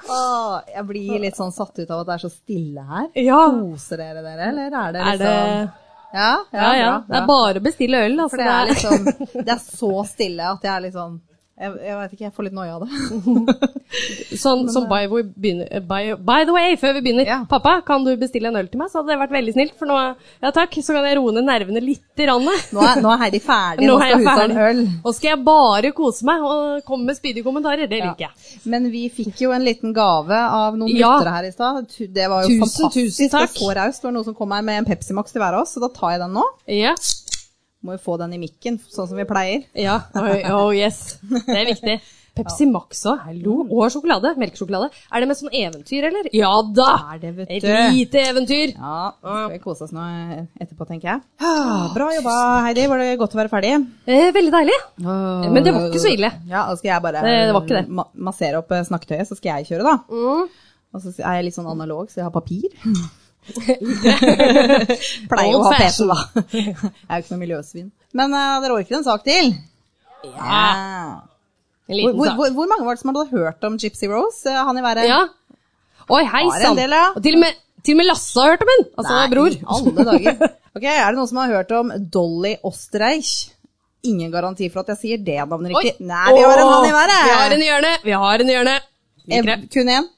[SPEAKER 1] Åh, jeg blir litt sånn satt ut av at det er så stille her.
[SPEAKER 2] Ja,
[SPEAKER 1] Koser dere dere, eller er det
[SPEAKER 2] er det...
[SPEAKER 1] liksom Ja,
[SPEAKER 2] Ja, ja. Det er bare å bestille øl, altså.
[SPEAKER 1] For det er liksom Det er så stille at jeg er litt sånn jeg, jeg vet ikke, jeg får litt noia av det.
[SPEAKER 2] [LAUGHS] [LAUGHS] Sånn som by, we begynner, by, by the way, før vi begynner.
[SPEAKER 1] Ja.
[SPEAKER 2] Pappa, kan du bestille en øl til meg? Så hadde det vært veldig snilt. For nå, ja takk, så kan jeg roe ned nervene lite grann.
[SPEAKER 1] Nå
[SPEAKER 2] [LAUGHS]
[SPEAKER 1] er, nå er Heidi ferdig, nå,
[SPEAKER 2] Nå er jeg
[SPEAKER 1] skal hun ta en
[SPEAKER 2] ferdig.
[SPEAKER 1] øl.
[SPEAKER 2] Nå skal jeg bare kose meg og komme med spydige kommentarer. Det liker jeg.
[SPEAKER 1] Men vi fikk jo en liten gave av noen
[SPEAKER 2] Ja.
[SPEAKER 1] lyttere her i stad. Tu- Det var jo
[SPEAKER 2] Tusen,
[SPEAKER 1] fantastisk.
[SPEAKER 2] tusen takk.
[SPEAKER 1] Det var så raust. Det var noen som kom her med en Pepsi Max til hver av oss, så da tar jeg den nå.
[SPEAKER 2] Ja.
[SPEAKER 1] Må jo få den i mikken, sånn som vi pleier.
[SPEAKER 2] ja. [LAUGHS] Oi, Oh, yes. Det er
[SPEAKER 1] [LAUGHS]
[SPEAKER 2] viktig. Pepsi Max òg, hallo. Og sjokolade. Melkesjokolade. Er det med sånn eventyr, eller? Ja da!
[SPEAKER 1] Er det, vet
[SPEAKER 2] Et
[SPEAKER 1] du.
[SPEAKER 2] lite eventyr.
[SPEAKER 1] Ja, nå skal vi kose oss nå etterpå, tenker jeg. Bra jobba, Heidi. Var det godt å være ferdig?
[SPEAKER 2] Eh, veldig deilig. Men det var ikke så ille.
[SPEAKER 1] Ja, da skal jeg bare
[SPEAKER 2] Det- det var ikke det.
[SPEAKER 1] ma- massere opp eh, snakketøyet, så skal jeg kjøre, da.
[SPEAKER 2] Mm.
[SPEAKER 1] Og så er jeg litt sånn analog, så jeg har
[SPEAKER 2] [LAUGHS]
[SPEAKER 1] papir. [LAUGHS] Pleier å
[SPEAKER 2] Old
[SPEAKER 1] ha PC,
[SPEAKER 2] fashion.
[SPEAKER 1] da. [LAUGHS] jeg er jo ikke noe miljøsvin. Men eh, dere orker en sak til?
[SPEAKER 2] [LAUGHS] Ja. En
[SPEAKER 1] Hvor,
[SPEAKER 2] Ah, liten
[SPEAKER 1] hvor,
[SPEAKER 2] sak.
[SPEAKER 1] hvor, hvor mange var det som hadde hørt om Gypsy Rose? Eh, Han i været?
[SPEAKER 2] Ja. Oi, hei
[SPEAKER 1] Har en
[SPEAKER 2] sann.
[SPEAKER 1] del, ja.
[SPEAKER 2] Og Til og med, til og med Lasse har hørt om den! Altså
[SPEAKER 1] Nei,
[SPEAKER 2] bror.
[SPEAKER 1] alle dager.
[SPEAKER 2] [LAUGHS]
[SPEAKER 1] Ok, Er det noen som har hørt om Dolly Osterreich? Ingen garanti for at jeg sier det navnet
[SPEAKER 2] Oi.
[SPEAKER 1] riktig. [LAUGHS] Nei, vi har en
[SPEAKER 2] Åh,
[SPEAKER 1] han i været!
[SPEAKER 2] Vi har en i hjørnet! Vi har en i hjørnet.
[SPEAKER 1] [LAUGHS]
[SPEAKER 2] Liker det.
[SPEAKER 1] Eh, Kun én?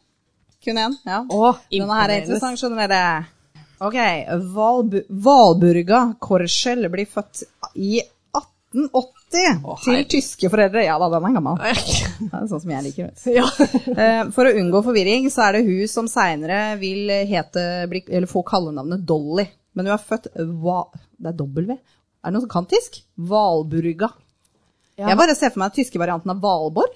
[SPEAKER 1] Kun én, ja.
[SPEAKER 2] Åh,
[SPEAKER 1] Denne her er
[SPEAKER 2] imponerende.
[SPEAKER 1] interessant, skjønner dere. Ok, Valbu Valburga Korschel blir født i 1880
[SPEAKER 2] Å,
[SPEAKER 1] til
[SPEAKER 2] herregud.
[SPEAKER 1] tyske foreldre. Ja da, den er gammel. Det er sånn som jeg liker. Vet. du.
[SPEAKER 2] Ja.
[SPEAKER 1] Eh, For å unngå forvirring, så er det hun som seinere vil hete, bli, eller få kallenavnet Dolly. Men hun er født Va... Det er W. Er det noen som kan tysk? Valburga.
[SPEAKER 2] Ja.
[SPEAKER 1] Jeg bare ser for meg den tyske varianten av Valborg.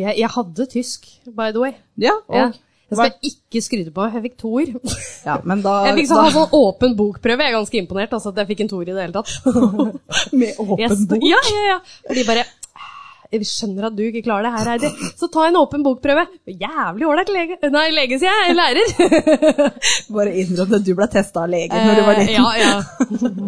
[SPEAKER 2] Jeg, jeg hadde tysk, by the way.
[SPEAKER 1] Ja, og,
[SPEAKER 2] Ja.
[SPEAKER 1] ja.
[SPEAKER 2] Jeg skal ikke skryte på, jeg fikk toer. [LAUGHS]
[SPEAKER 1] men da,
[SPEAKER 2] Jeg fikk sånn, [LAUGHS] ha sånn åpen bokprøve, jeg er ganske imponert [LAUGHS] altså, at jeg fikk en toer i det hele tatt.
[SPEAKER 1] da Med
[SPEAKER 2] Jeg
[SPEAKER 1] åpen
[SPEAKER 2] sto-
[SPEAKER 1] bok.
[SPEAKER 2] Ja, ja, ja. Og de bare Vi skjønner at du ikke klarer det her, Heidi. Så ta en åpen bokprøve. Jævlig ålreit lege. Nei, lege, sier jeg. Lærer. [LAUGHS]
[SPEAKER 1] Bare innrøm at du ble testa av legen når du var
[SPEAKER 2] Eh,
[SPEAKER 1] liten.
[SPEAKER 2] Ja, ja. [LAUGHS]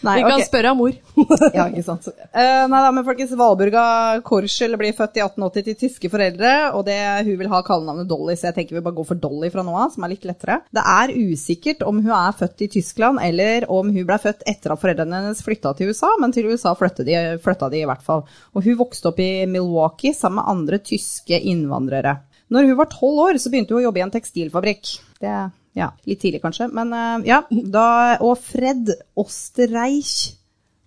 [SPEAKER 1] Nei,
[SPEAKER 2] Vi kan
[SPEAKER 1] ok.
[SPEAKER 2] spørre av [LAUGHS] mor.
[SPEAKER 1] [LAUGHS] ja, ikke sant. Eh, nei da, men folkens, Valburga Korschel blir født i 1880 til tyske foreldre, og det, hun vil ha kallenavnet Dolly, så jeg tenker vi bare går for Dolly fra nå av, som er litt lettere. Det er usikkert om hun er født i Tyskland, eller om hun ble født etter at foreldrene hennes flytta til USA, men til USA flytta de, flytta de i hvert fall. Og hun vokste opp i Milwaukee sammen med andre tyske innvandrere. Når hun var tolv år, så begynte hun å jobbe i en tekstilfabrikk. Det ja, litt tidlig kanskje, men eh, ja. Da, og Fred Osterreich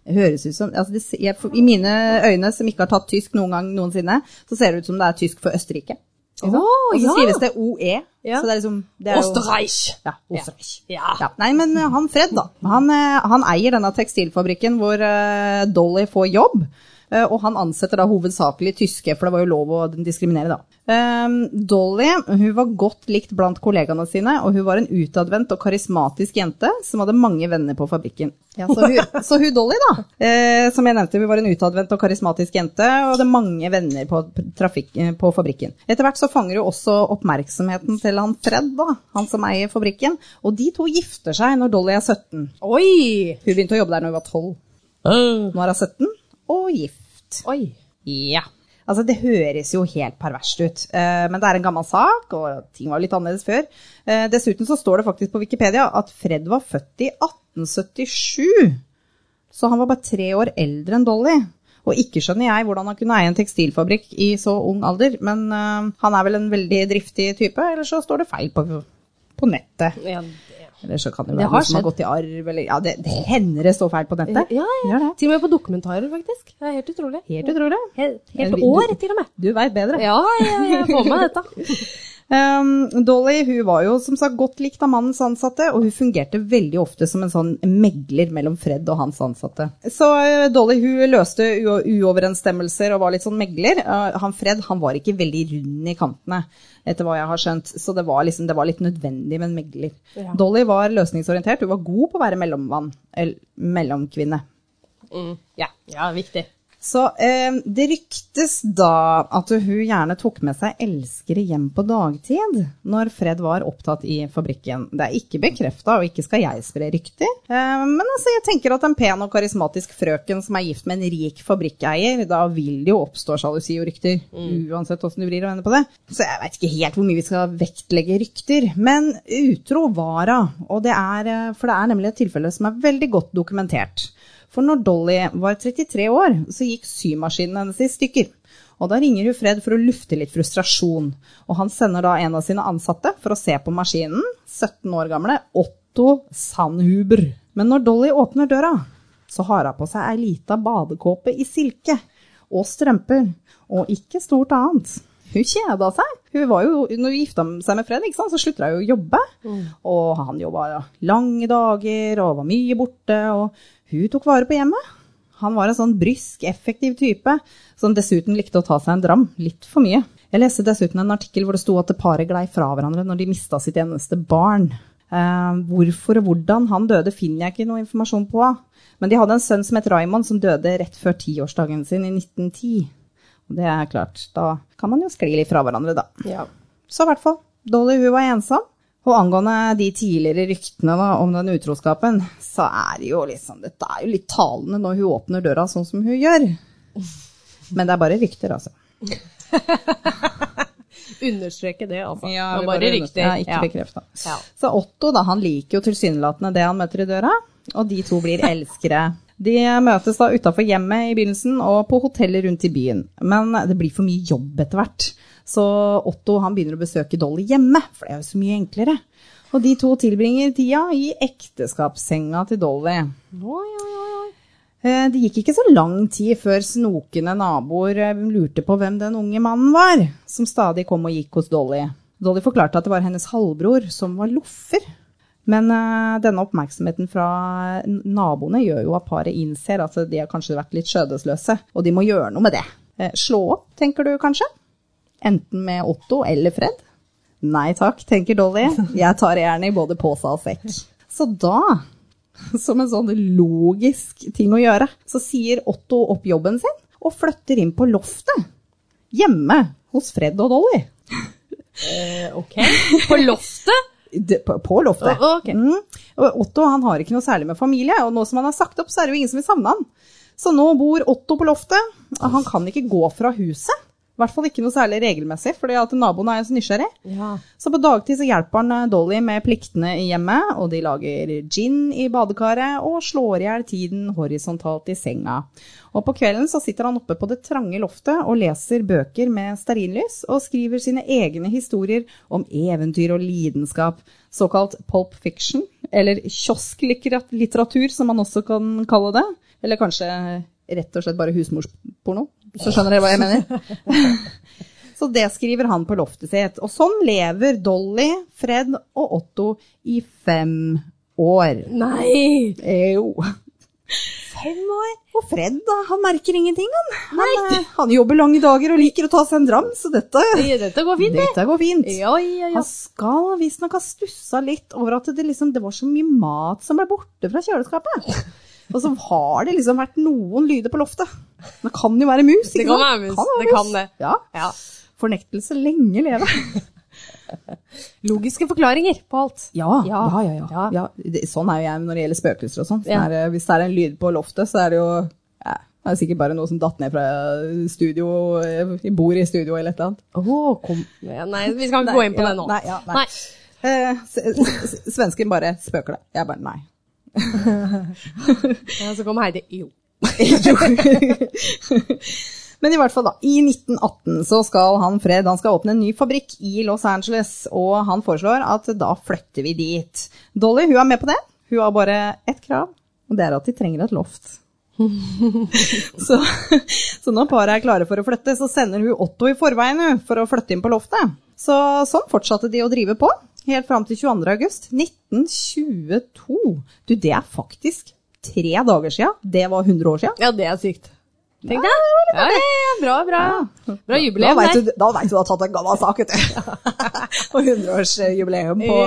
[SPEAKER 1] det høres ut som altså det, ser- jeg, for- I mine øyne, som ikke har tatt tysk noen gang noensinne, så ser det ut som det er tysk for Østerrike. Ikke sant?
[SPEAKER 2] Å,
[SPEAKER 1] og så
[SPEAKER 2] ja.
[SPEAKER 1] skrives det OE.
[SPEAKER 2] Ja.
[SPEAKER 1] Så det er liksom
[SPEAKER 2] [LAUGHS]
[SPEAKER 1] det er jo-
[SPEAKER 2] Osterreich.
[SPEAKER 1] Ja, Osterreich.
[SPEAKER 2] Ja.
[SPEAKER 1] Ja. Nei, men eh, han Fred, da. Han, eh, han eier denne tekstilfabrikken hvor eh, Dolly får jobb. eh, Og han ansetter da hovedsakelig tyske, for det var jo lov å diskriminere, da. Ehm, Dolly hun var godt likt blant kollegaene sine, og hun var en utadvendt og karismatisk jente som hadde mange venner på fabrikken. Ja, så, [LAUGHS] hun, så hun Dolly, da, eh, som jeg nevnte, hun var en utadvendt og karismatisk jente, og hadde mange venner på, trafikk, eh, på fabrikken. Etter hvert så fanger hun også oppmerksomheten til han Fred, da, han som eier fabrikken, og de to gifter seg når Dolly er 17.
[SPEAKER 2] Oi.
[SPEAKER 1] Hun begynte å jobbe der når hun var 12.
[SPEAKER 2] Ah.
[SPEAKER 1] Nå er hun 17 og gift.
[SPEAKER 2] Oi.
[SPEAKER 1] Ja. Altså, det høres jo helt perverst ut, eh, men det er en gammel sak, og ting var litt annerledes før. Eh, Dessuten så står det faktisk på Wikipedia at Fred var født i 1877, så han var bare tre år eldre enn Dolly. Og ikke skjønner jeg hvordan han kunne eie en tekstilfabrikk i så ung alder, men eh, han er vel en veldig driftig type, eller så står det feil på, på nettet.
[SPEAKER 2] Ja, det-
[SPEAKER 1] Eller så kan det
[SPEAKER 2] Det
[SPEAKER 1] være
[SPEAKER 2] har
[SPEAKER 1] noe som har
[SPEAKER 2] skjedd.
[SPEAKER 1] gått i arv, eller ja, det, det hender det står feil på nettet.
[SPEAKER 2] ja,
[SPEAKER 1] Gjør
[SPEAKER 2] ja.
[SPEAKER 1] det.
[SPEAKER 2] Til og med på dokumentarer, faktisk. Det er helt utrolig.
[SPEAKER 1] Helt utrolig.
[SPEAKER 2] Helt,
[SPEAKER 1] Ja,
[SPEAKER 2] helt
[SPEAKER 1] vi-
[SPEAKER 2] år, til og med.
[SPEAKER 1] Du veit bedre.
[SPEAKER 2] Ja, jeg, jeg får med dette.
[SPEAKER 1] Um, Dolly hun var jo som sagt godt likt av mannens ansatte, og hun fungerte veldig ofte som en sånn megler mellom Fred og hans ansatte. Så uh, Dolly hun løste u uoverensstemmelser og var litt sånn megler. Uh, han Fred han var ikke veldig rund i kantene, etter hva jeg har skjønt, så det var, liksom, det var litt nødvendig med en megler.
[SPEAKER 2] Ja.
[SPEAKER 1] Dolly var løsningsorientert, hun var god på å være mellommann, eller mellomkvinne.
[SPEAKER 2] Ja, Mm. ja, viktig.
[SPEAKER 1] Så eh, det ryktes da at hun gjerne tok med seg elskere hjem på dagtid når Fred var opptatt i fabrikken. Det er ikke bekrefta, og ikke skal jeg spre rykter. Eh, men altså, jeg tenker at en pen og karismatisk frøken som er gift med en rik fabrikkeier, da vil det jo oppstå sjalusi og rykter. Uansett åssen du vrir og vender på det. Så jeg veit ikke helt hvor mye vi skal vektlegge rykter. Men utro var hun, og det er, eh, for det er nemlig et tilfelle som er veldig godt dokumentert. For når Dolly var 33 år, så gikk symaskinen hennes i stykker. Og da ringer hun Fred for å lufte litt frustrasjon. Og han sender da en av sine ansatte for å se på maskinen, 17 år gamle Otto Sandhuber. Men når Dolly åpner døra, så har hun på seg ei lita badekåpe i silke. Og strømper. Og ikke stort annet. Hun kjeda seg. Hun var jo, når hun gifta seg med Fred, ikke sant, så slutta hun jo å jobbe. Og han jobba lange dager og var mye borte. Og hun tok vare på hjemmet. Han var en sånn brysk, effektiv type, som dessuten likte å ta seg en dram. Litt for mye. Jeg leste dessuten en artikkel hvor det sto at det paret glei fra hverandre når de mista sitt eneste barn. Eh, hvorfor og hvordan han døde, finner jeg ikke noe informasjon på. Men de hadde en sønn som het Raymond, som døde rett før tiårsdagen sin i 1910. Og det er klart, da kan man jo skli litt fra hverandre, da.
[SPEAKER 2] Ja.
[SPEAKER 1] Så i hvert fall, Dolly hun var ensom. Og angående de tidligere ryktene da, om den utroskapen, så er det jo liksom, dette er jo litt talende når hun åpner døra sånn som hun gjør. Men det er bare rykter, altså.
[SPEAKER 2] Understreke det, altså.
[SPEAKER 1] Det er
[SPEAKER 2] det var bare rykter.
[SPEAKER 1] Ja, ikke
[SPEAKER 2] Ja.
[SPEAKER 1] bekreftet.
[SPEAKER 2] Ja.
[SPEAKER 1] Så Otto da, han liker jo tilsynelatende det han møter i døra, og de to
[SPEAKER 2] [LAUGHS]
[SPEAKER 1] blir elskere. De møtes da utafor hjemmet i begynnelsen og på hoteller rundt i byen. Men det blir for mye jobb etter hvert. Så Otto han begynner å besøke Dolly hjemme, for det er jo så mye enklere. Og de to tilbringer tida i ekteskapssenga til Dolly.
[SPEAKER 2] Oi, oi, oi, oi.
[SPEAKER 1] Eh, Det gikk ikke så lang tid før snokende naboer eh, lurte på hvem den unge mannen var, som stadig kom og gikk hos Dolly. Dolly forklarte at det var hennes halvbror, som var loffer. Men eh, denne oppmerksomheten fra n- naboene gjør jo at paret innser at de har kanskje vært litt skjødesløse, og de må gjøre noe med det. Eh, slå opp, tenker du kanskje? Enten med Otto eller Fred? Nei takk, tenker Dolly. Jeg tar gjerne i både pose og sekk. Så da, som en sånn logisk ting å gjøre, så sier Otto opp jobben sin og flytter inn på loftet hjemme hos Fred og Dolly.
[SPEAKER 2] Eh, Ok. [LAUGHS] På loftet?
[SPEAKER 1] Det- På, på loftet.
[SPEAKER 2] Å, ok.
[SPEAKER 1] Mm. Og Otto han har ikke noe særlig med familie, og nå som han har sagt opp, så er det jo ingen som vil savne han. Så nå bor Otto på loftet. Han kan ikke gå fra huset. I hvert fall ikke noe særlig regelmessig, fordi at naboen er jo så nysgjerrig.
[SPEAKER 2] Ja.
[SPEAKER 1] Så på dagtid så hjelper han eh, Dolly med pliktene i hjemmet, og de lager gin i badekaret og slår i hjel tiden horisontalt i senga. Og på kvelden så sitter han oppe på det trange loftet og leser bøker med stearinlys, og skriver sine egne historier om eventyr og lidenskap, såkalt pulp fiction, eller kiosklitteratur som man også kan kalle det, eller kanskje rett og slett bare husmorsporno, så skjønner dere hva jeg mener. Så det skriver han på loftet sitt. Og sånn lever Dolly, Fred og Otto i fem år.
[SPEAKER 2] Nei!
[SPEAKER 1] Eh, Jo.
[SPEAKER 2] Fem år?
[SPEAKER 1] Og Fred, da, han merker ingenting, han. Han, eh, han jobber lange dager og liker å ta seg en dram, så dette,
[SPEAKER 2] Ja, Dette går fint, det.
[SPEAKER 1] dette går fint.
[SPEAKER 2] Ja, ja, ja.
[SPEAKER 1] Han skal visstnok ha stussa litt over at det, liksom, det var så mye mat som ble borte fra
[SPEAKER 2] [LAUGHS]
[SPEAKER 1] kjøleskapet. Og så har det liksom vært noen lyder på loftet. Det kan jo være mus.
[SPEAKER 2] Det
[SPEAKER 1] ikke
[SPEAKER 2] kan
[SPEAKER 1] sant?
[SPEAKER 2] være mus,
[SPEAKER 1] Kan
[SPEAKER 2] det kan det.
[SPEAKER 1] Ja.
[SPEAKER 2] Ja.
[SPEAKER 1] Fornektelse lenge leve.
[SPEAKER 2] Logiske forklaringer på alt.
[SPEAKER 1] Ja,
[SPEAKER 2] Ja.
[SPEAKER 1] ja, ja. ja,
[SPEAKER 2] Ja.
[SPEAKER 1] ja. det, sånn er jo jeg når det gjelder spøkelser og sånn. Sånn
[SPEAKER 2] Ja.
[SPEAKER 1] er det- Hvis det er en lyd på loftet, så er det jo ja, det er sikkert bare noe som datt ned fra studio, eh, bord i studio eller et eller annet.
[SPEAKER 2] Åh, kom. Nei, vi skal ikke gå inn på
[SPEAKER 1] ja,
[SPEAKER 2] det nå.
[SPEAKER 1] Nei, ja, nei. Eh, s- s- s- svensken bare spøker det. Jeg bare nei.
[SPEAKER 2] Ja, så kom Heidi. Jo.
[SPEAKER 1] Jo. [LAUGHS] Men i hvert fall da, i 1918 så skal han Fred han skal åpne en ny fabrikk i Los Angeles, og han foreslår at da flytter vi dit. Dolly hun er med på det. Hun har bare ett krav, og det er at de trenger et loft. [LAUGHS] så, så når paret er klare for å flytte, så sender hun Otto i forveien hun, for å flytte inn på loftet. Så sånn fortsatte de å drive på, helt fram til 22. august 1922. Du, det er faktisk tre dager sia. Det var 100 år sia.
[SPEAKER 2] Ja, det er sykt. Tenk deg. Ja, ja, ja, bra, bra. Bra
[SPEAKER 1] Da
[SPEAKER 2] jubileum
[SPEAKER 1] veit
[SPEAKER 2] der.
[SPEAKER 1] du, da vet du du har tatt en gammel sak, vet du. [LAUGHS] På 100-årsjubileum på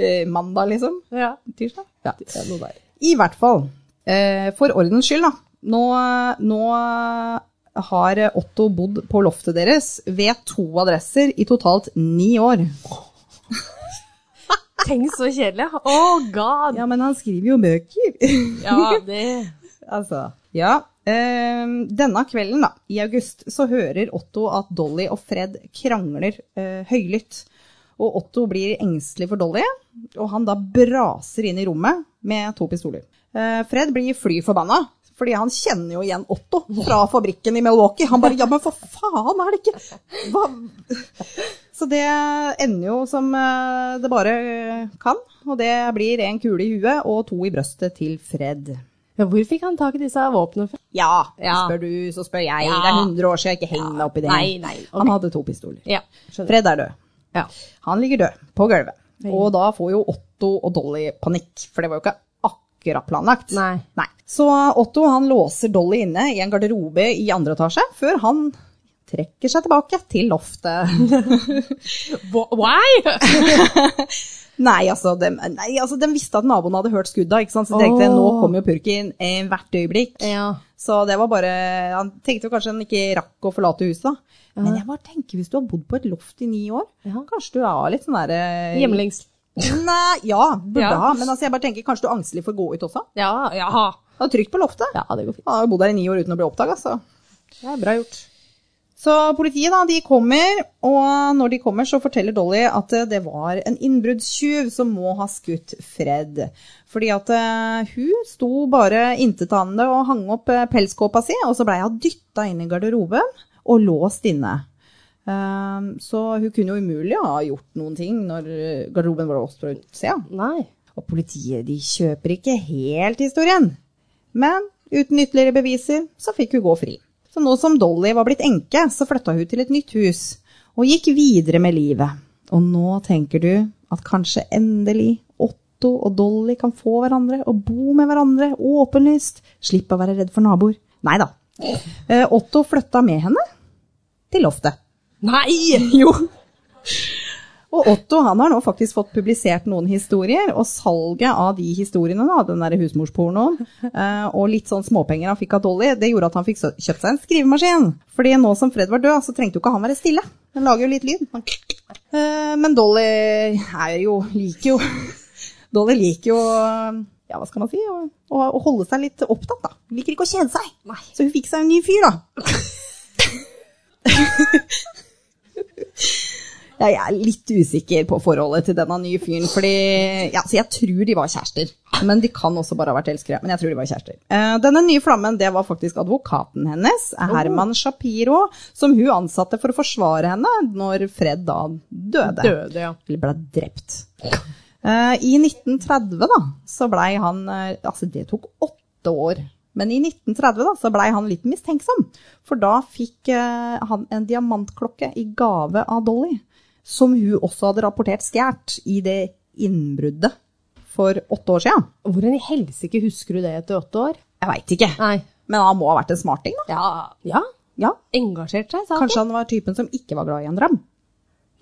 [SPEAKER 1] eh, mandag, liksom.
[SPEAKER 2] Ja.
[SPEAKER 1] Tirsdag? Ja.
[SPEAKER 2] Ja, noe der.
[SPEAKER 1] I hvert fall. Eh, for ordens skyld, da. Nå, nå har Otto bodd på loftet deres ved to adresser i totalt ni år.
[SPEAKER 2] Tenk så kjedelig. Oh god.
[SPEAKER 1] Ja, men han skriver jo bøker. [LAUGHS]
[SPEAKER 2] Ja, det...
[SPEAKER 1] Altså. Ja. ehm, denne kvelden, da, i august, så hører Otto at Dolly og Fred krangler eh, høylytt. Og Otto blir engstelig for Dolly, og han da braser inn i rommet med to pistoler. Eh, Fred blir fly forbanna, fordi han kjenner jo igjen Otto fra fabrikken i Milwaukee. Han bare 'ja, men for faen, er det ikke Hva? Så det ender jo som eh, det bare eh, kan, og det blir en kule i huet og to i brøstet til Fred.
[SPEAKER 2] [LAUGHS] Ja, hvor fikk han tak i disse våpnene fra?
[SPEAKER 1] Ja,
[SPEAKER 2] Ja.
[SPEAKER 1] spør du, så spør jeg.
[SPEAKER 2] Ja.
[SPEAKER 1] Det er 100 år siden, ikke heng deg opp i det.
[SPEAKER 2] Nei, nei, ok.
[SPEAKER 1] Han hadde to pistoler.
[SPEAKER 2] Ja, skjønner.
[SPEAKER 1] Fred er død.
[SPEAKER 2] Ja.
[SPEAKER 1] Han ligger død på gulvet. Og da får jo Otto og Dolly panikk, for det var jo ikke akkurat planlagt.
[SPEAKER 2] Nei.
[SPEAKER 1] Så Otto han låser Dolly inne i en garderobe i andre etasje, før han trekker seg tilbake til loftet. [LAUGHS]
[SPEAKER 2] Wh- Why?
[SPEAKER 1] Nei, altså, de, nei, altså, de visste at naboen hadde hørt skudda, ikke sant? så de tenkte
[SPEAKER 2] Åh.
[SPEAKER 1] nå kommer jo purken eh, hvert øyeblikk.
[SPEAKER 2] [LAUGHS] Ja.
[SPEAKER 1] Så det var bare Han tenkte jo kanskje han ikke rakk å forlate huset, da. Men jeg bare tenker, hvis du har bodd på et loft i ni år,
[SPEAKER 2] Ja.
[SPEAKER 1] kanskje du er litt sånn derre
[SPEAKER 2] Hjemlengs.
[SPEAKER 1] Nei, ja, burde
[SPEAKER 2] Ja.
[SPEAKER 1] ha. Men altså, jeg bare tenker, kanskje du er angstelig for å gå ut også?
[SPEAKER 2] Ja, ja.
[SPEAKER 1] Det er trygt på loftet.
[SPEAKER 2] Ja, det går fint.
[SPEAKER 1] Han har jo bodd her i ni år uten å bli oppdaga, så det er bra gjort. Så politiet da, de kommer, og når de kommer så forteller Dolly at eh, det var en innbruddstyv som må ha skutt Fred. Fordi at eh, hun sto bare intetanende og hang opp eh, pelskåpa si, og så blei hun dytta inn i garderoben og låst inne. Ehm, så hun kunne jo umulig ha gjort noen ting når eh, garderoben var låst fra utsida.
[SPEAKER 2] Nei.
[SPEAKER 1] Og politiet de kjøper ikke helt historien. Men uten ytterligere beviser så fikk hun gå fri. Så nå som Dolly var blitt enke, så flytta hun til et nytt hus og gikk videre med livet. Og nå tenker du at kanskje endelig Otto og Dolly kan få hverandre og bo med hverandre åpenlyst. Slippe å være redd for naboer. Nei da. Eh, Otto flytta med henne til loftet.
[SPEAKER 2] Nei!
[SPEAKER 1] Jo. Og Otto han har nå faktisk fått publisert noen historier, og salget av de historiene, da, den der husmorspornoen, eh, og litt sånn småpenger han fikk av Dolly, det gjorde at han fikk så- kjøpt seg en skrivemaskin. Fordi nå som Fred var død, så trengte jo ikke han være stille. Den lager jo litt lyd. Han- Eh, Men Dolly er jo, liker jo [LAUGHS] Dolly liker jo ja, hva skal man si, å, å, å holde seg litt opptatt, da. Hun liker ikke å kjede seg.
[SPEAKER 2] Nei.
[SPEAKER 1] Så hun fikk seg en ny fyr, da. Ja, jeg er litt usikker på forholdet til denne nye fyren, fordi ja, så jeg tror de var kjærester. Men de kan også bare ha vært elskere. Men jeg tror de var kjærester. Eh, denne nye flammen, det var faktisk advokaten hennes, Herman Shapiro, som hun ansatte for å forsvare henne når Fred da døde.
[SPEAKER 2] Døde, ja.
[SPEAKER 1] Eller ble drept. Eh, I 1930 da, så blei han eh, Altså, det tok åtte år. Men i 1930 da, så blei han litt mistenksom. For da fikk eh, han en diamantklokke i gave av Dolly, som hun også hadde rapportert stjålet i det innbruddet for åtte år sia.
[SPEAKER 2] Hvordan i helsike husker du det etter åtte år?
[SPEAKER 1] Jeg veit ikke.
[SPEAKER 2] Nei.
[SPEAKER 1] Men han må ha vært en smarting, da.
[SPEAKER 2] Ja. ja.
[SPEAKER 1] Ja,
[SPEAKER 2] Engasjert seg, sa han.
[SPEAKER 1] Kanskje han var typen som ikke var glad i en dram.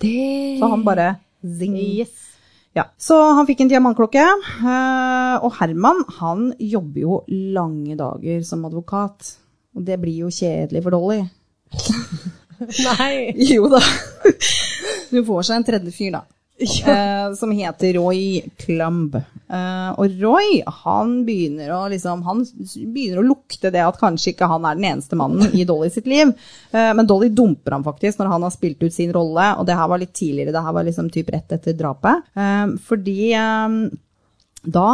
[SPEAKER 2] Det
[SPEAKER 1] Så han bare zing.
[SPEAKER 2] Yes. [LAUGHS]
[SPEAKER 1] Ja, så han fikk en diamantklokke, eh, og Herman han jobber jo lange dager som advokat. Og det blir jo kjedelig for Dolly.
[SPEAKER 2] Nei.
[SPEAKER 1] [LAUGHS] Jo da. [LAUGHS] Hun får seg en tredje fyr, da. eh, Som heter Roy Klumb. Eh, Og Roy han begynner, å, liksom, han s- begynner å lukte det at kanskje ikke han er den eneste mannen i Dolly sitt liv. Eh, Men Dolly dumper ham faktisk når han har spilt ut sin rolle, og det her var litt tidligere. Det her var liksom typ rett etter drapet. Eh, Fordi eh, da,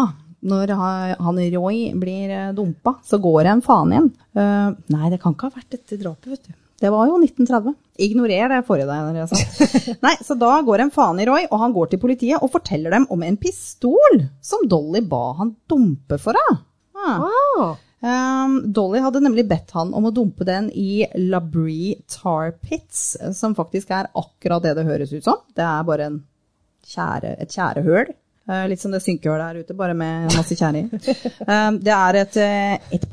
[SPEAKER 1] når ha- han Roy blir eh, dumpa, så går det en faen igjen. Eh, nei, det kan ikke ha vært dette drapet, vet du. Det var jo 1930. Ignorer det forrige der. jeg sa. Nei, så da går en faen i Roy, og han går til politiet og forteller dem om en pistol som Dolly ba han dumpe for henne. Ah.
[SPEAKER 2] Ah.
[SPEAKER 1] Um, Dolly hadde nemlig bedt han om å dumpe den i Labrie Tar Pits, som faktisk er akkurat det det høres ut som. Det er bare en tjære, et tjærehøl. Eh, litt som det synkehølet her ute, bare med masse tjære i. Um, det er et, eh, et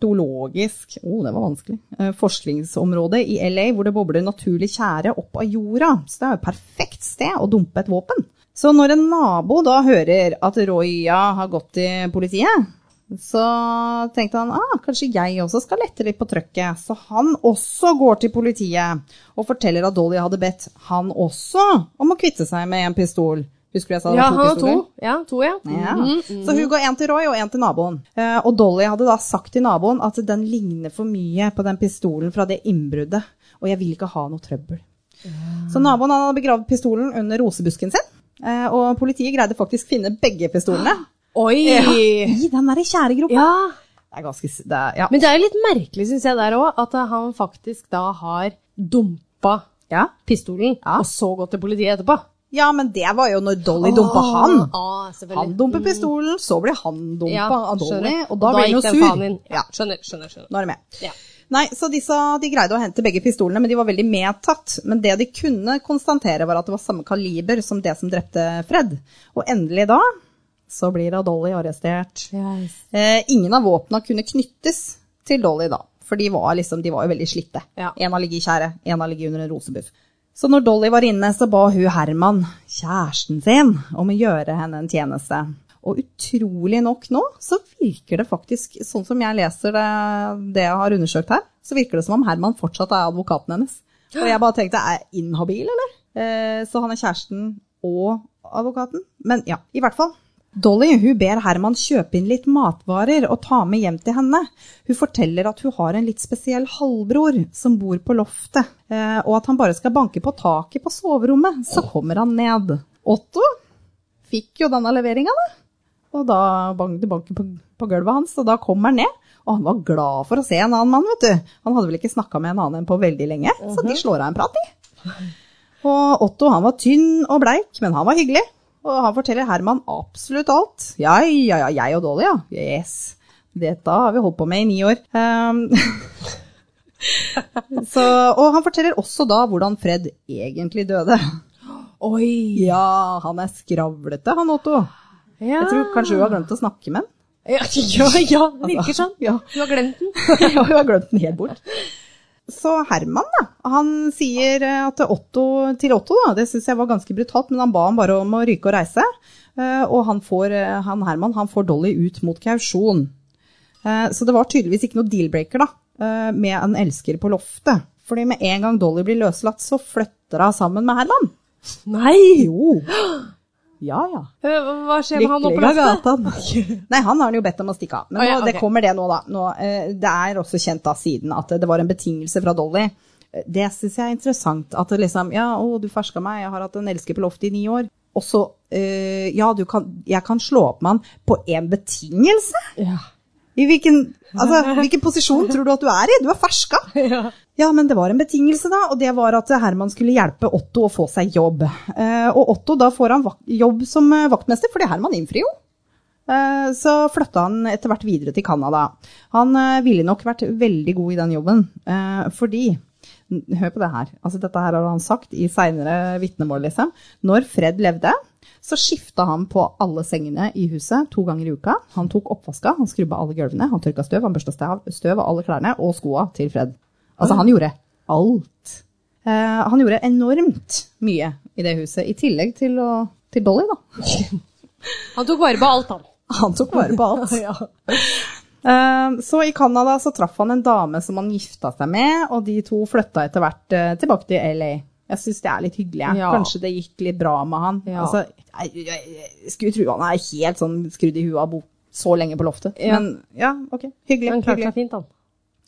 [SPEAKER 1] paleontologisk oh, det var vanskelig, eh, forskningsområde i LA hvor det bobler naturlig tjære opp av jorda. Så det er jo et perfekt sted å dumpe et våpen. Så når en nabo da hører at Roya har gått til politiet, så tenkte han ah, kanskje jeg også skal lette litt på trøkket. Så han også går til politiet og forteller at Dolly hadde bedt han også om å kvitte seg med en pistol. Husker du jeg sa det
[SPEAKER 2] Ja,
[SPEAKER 1] var
[SPEAKER 2] han har
[SPEAKER 1] pistoler?
[SPEAKER 2] to. Ja, to, ja.
[SPEAKER 1] Ja.
[SPEAKER 2] Mhm.
[SPEAKER 1] Så hun går en til Roy og en til naboen. Eh, og Dolly hadde da sagt til naboen at den ligner for mye på den pistolen fra det innbruddet, og jeg vil ikke ha noe trøbbel. Så naboen han hadde begravd pistolen under rosebusken sin, eh, og politiet greide faktisk finne begge
[SPEAKER 2] [GASPS]
[SPEAKER 1] pistolene
[SPEAKER 2] Oi! Ja.
[SPEAKER 1] i den derre tjæregropa. Det er ganske s- det er, ja.
[SPEAKER 2] Men det er jo litt merkelig, syns jeg, der òg, at eh, han faktisk da har dumpa
[SPEAKER 1] ja.
[SPEAKER 2] pistolen,
[SPEAKER 1] Ja.
[SPEAKER 2] og så gått til politiet etterpå.
[SPEAKER 1] Ja, men det var jo når Dolly dumpa han.
[SPEAKER 2] Ah, selvfølgelig.
[SPEAKER 1] Han dumper pistolen, så blir han dumpa
[SPEAKER 2] Ja,
[SPEAKER 1] av Dolly,
[SPEAKER 2] skjønner.
[SPEAKER 1] Mm. og da blir han jo
[SPEAKER 2] gikk den faen
[SPEAKER 1] sur.
[SPEAKER 2] inn.
[SPEAKER 1] Ja,
[SPEAKER 2] Ja, skjønner, skjønner, skjønner.
[SPEAKER 1] nå er det med.
[SPEAKER 2] Ja.
[SPEAKER 1] Nei, så disse, de greide å hente begge pistolene, men de var veldig medtatt. Men det de kunne konstatere var at det var samme kaliber som det som drepte Fred. Og endelig da, så blir da Dolly arrestert. Eh, ingen av våpna kunne knyttes til Dolly da, for de var, liksom, de var jo veldig slitte.
[SPEAKER 2] Ja.
[SPEAKER 1] En har ligget i tjære, en har ligget under en rosebuff. Så når Dolly var inne, så ba hun Herman, kjæresten sin, om å gjøre henne en tjeneste. Og utrolig nok nå, så virker det faktisk, sånn som jeg leser det, det jeg har undersøkt her, så virker det som om Herman fortsatt er advokaten hennes. Og jeg bare tenkte, er jeg inhabil, eller? Eh, så han er kjæresten og advokaten. Men ja, i hvert fall. Dolly hun ber Herman kjøpe inn litt matvarer og ta med hjem til henne. Hun forteller at hun har en litt spesiell halvbror som bor på loftet, eh, og at han bare skal banke på taket på soverommet, så kommer han ned. Otto fikk jo denne leveringa, da. Og da bang, det banket på, på gulvet hans, og da kom han ned. Og han var glad for å se en annen mann, vet du. Han hadde vel ikke snakka med en annen enn på veldig lenge, så de slår av en prat, de. Og Otto han var tynn og bleik, men han var hyggelig. Og han forteller Herman absolutt alt. Ja, ja, ja, jeg og Dolly, ja. Yes. Dette har vi holdt på med i ni år. Ehm, [LAUGHS] så, og han forteller også da hvordan Fred egentlig døde.
[SPEAKER 2] Oi!
[SPEAKER 1] Ja, han er skravlete, han Otto.
[SPEAKER 2] Ja.
[SPEAKER 1] Jeg tror kanskje hun har glemt å snakke med han.
[SPEAKER 2] Ja, ja, ja, det virker sånn.
[SPEAKER 1] Ja.
[SPEAKER 2] Du har glemt den.
[SPEAKER 1] [LAUGHS] Ja, hun har glemt den helt bort. Så Herman da, han sier eh, at Otto, til Otto, da, det syns jeg var ganske brutalt, men han ba ham bare om å ryke og reise. Eh, Og han, får, eh, han Herman han får Dolly ut mot kausjon. Eh, Så det var tydeligvis ikke noe deal-breaker da, eh, med en elsker på loftet. Fordi med en gang Dolly blir løslatt, så flytter hun sammen med Herman.
[SPEAKER 2] Nei!
[SPEAKER 1] Jo. Ja, ja.
[SPEAKER 2] Hva skjer med han oppe på
[SPEAKER 1] Lykkelige
[SPEAKER 2] loftet?
[SPEAKER 1] gatan. Nei, han har han jo bedt om å stikke av. Men
[SPEAKER 2] Å, ja,
[SPEAKER 1] nå,
[SPEAKER 2] ok.
[SPEAKER 1] det kommer det nå, da. Nå, eh, det er også kjent da siden at det var en betingelse fra Dolly. Eh, Det syns jeg er interessant. At det liksom Ja, å, du ferska meg, jeg har hatt en elsker på loftet i ni år. Og så eh, Ja, du kan, jeg kan slå opp med han på én betingelse?
[SPEAKER 2] Ja.
[SPEAKER 1] I hvilken,
[SPEAKER 2] [LAUGHS]
[SPEAKER 1] altså, hvilken posisjon tror du at du er i? Du er ferska.
[SPEAKER 2] [LAUGHS] Ja.
[SPEAKER 1] Ja, men det var en betingelse, da, og det var at Herman skulle hjelpe Otto å få seg jobb. Eh, og Otto, da får han vak jobb som eh, vaktmester, fordi Herman innfrir jo. Eh, så flytta han etter hvert videre til Canada. Han eh, ville nok vært veldig god i den jobben, eh, fordi n- Hør på det her. Altså, dette her har han sagt i seinere vitnemål, liksom. Når Fred levde, så skifta han på alle sengene i huset to ganger i uka. Han tok oppvaska, han skrubba alle gulvene, han tørka støv, han børsta stav- støv av alle klærne og skoa til Fred. Altså, han gjorde alt. Eh, han gjorde enormt mye i det huset, i tillegg til, å, til Dolly, da.
[SPEAKER 2] Han tok vare på alt, han.
[SPEAKER 1] Han tok vare på alt.
[SPEAKER 2] [LAUGHS] Ja.
[SPEAKER 1] Eh, Så i Canada så traff han en dame som han gifta seg med, og de to flytta etter hvert eh, tilbake til LA. Jeg syns det er litt hyggelig. jeg.
[SPEAKER 2] Ja.
[SPEAKER 1] Kanskje det gikk litt bra med han.
[SPEAKER 2] Ja.
[SPEAKER 1] Altså, jeg, jeg, jeg skulle tro han er helt sånn skrudd i huet av å bo så lenge på loftet.
[SPEAKER 2] Ja.
[SPEAKER 1] Men ja, ok. Hyggelig.
[SPEAKER 2] Han klarte
[SPEAKER 1] hyggelig.
[SPEAKER 2] seg fint, han.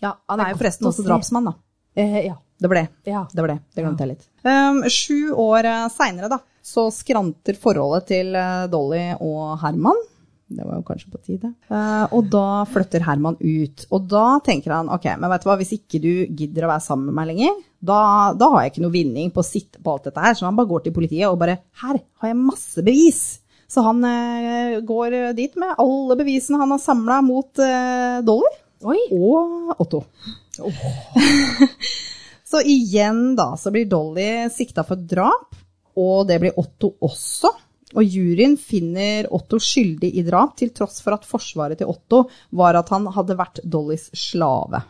[SPEAKER 1] Ja, han er jo forresten
[SPEAKER 2] å
[SPEAKER 1] også
[SPEAKER 2] se.
[SPEAKER 1] drapsmann, da.
[SPEAKER 2] Eh, ja.
[SPEAKER 1] Det ble.
[SPEAKER 2] Ja.
[SPEAKER 1] Det var det. Det glemte jeg litt. Um, sju år uh, seinere, da, så skranter forholdet til eh, Dolly og Herman. Det var jo kanskje på tide. Eh, og da flytter Herman ut. Og da tenker han ok, men vet du hva, hvis ikke du gidder å være sammen med meg lenger, da, da har jeg ikke noe vinning på å sitte på alt dette her. Så han bare går til politiet og bare her har jeg masse bevis. Så han eh, går dit med alle bevisene han har samla mot eh, Dolly
[SPEAKER 2] Oi.
[SPEAKER 1] og Otto. så igjen da, så blir Dolly sikta for drap, og det blir Otto også. Og juryen finner Otto skyldig i drap, til tross for at forsvaret til Otto var at han hadde vært Dollys slave.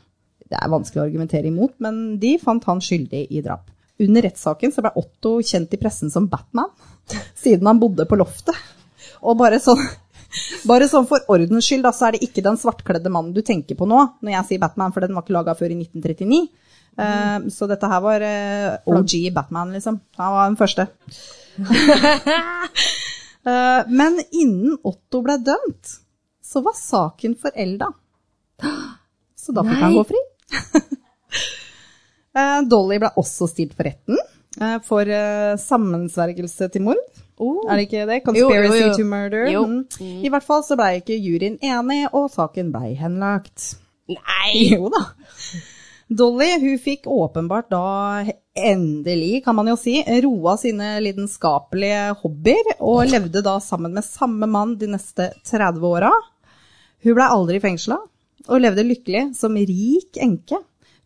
[SPEAKER 1] Det er vanskelig å argumentere imot, men de fant han skyldig i drap. Under rettssaken så ble Otto kjent i pressen som Batman, siden han bodde på loftet. Og bare sånn, [LAUGHS] bare sånn for ordens skyld, da, så er det ikke den svartkledde mannen du tenker på nå, når jeg sier Batman, for den var ikke laga før i 1939. Eh, så dette her var eh, OG Batman, liksom. Han var den første. [LAUGHS] Eh, men innen Otto ble dømt, så var saken forelda. Så da fikk
[SPEAKER 2] Nei.
[SPEAKER 1] han gå fri. [LAUGHS] Eh, Dolly ble også stilt for retten eh, for eh, sammensvergelse til mord.
[SPEAKER 2] Oh.
[SPEAKER 1] Er det ikke det?
[SPEAKER 2] jo, jo.
[SPEAKER 1] Conspiracy to murder.
[SPEAKER 2] Jo.
[SPEAKER 1] Mm. I hvert fall så blei ikke juryen enig, og saken blei henlagt.
[SPEAKER 2] Nei!
[SPEAKER 1] [LAUGHS] Jo da. Dolly hun fikk åpenbart da endelig, kan man jo si, roa sine lidenskapelige hobbyer, og levde da sammen med samme mann de neste 30 åra. Hun blei aldri fengsla, og levde lykkelig som rik enke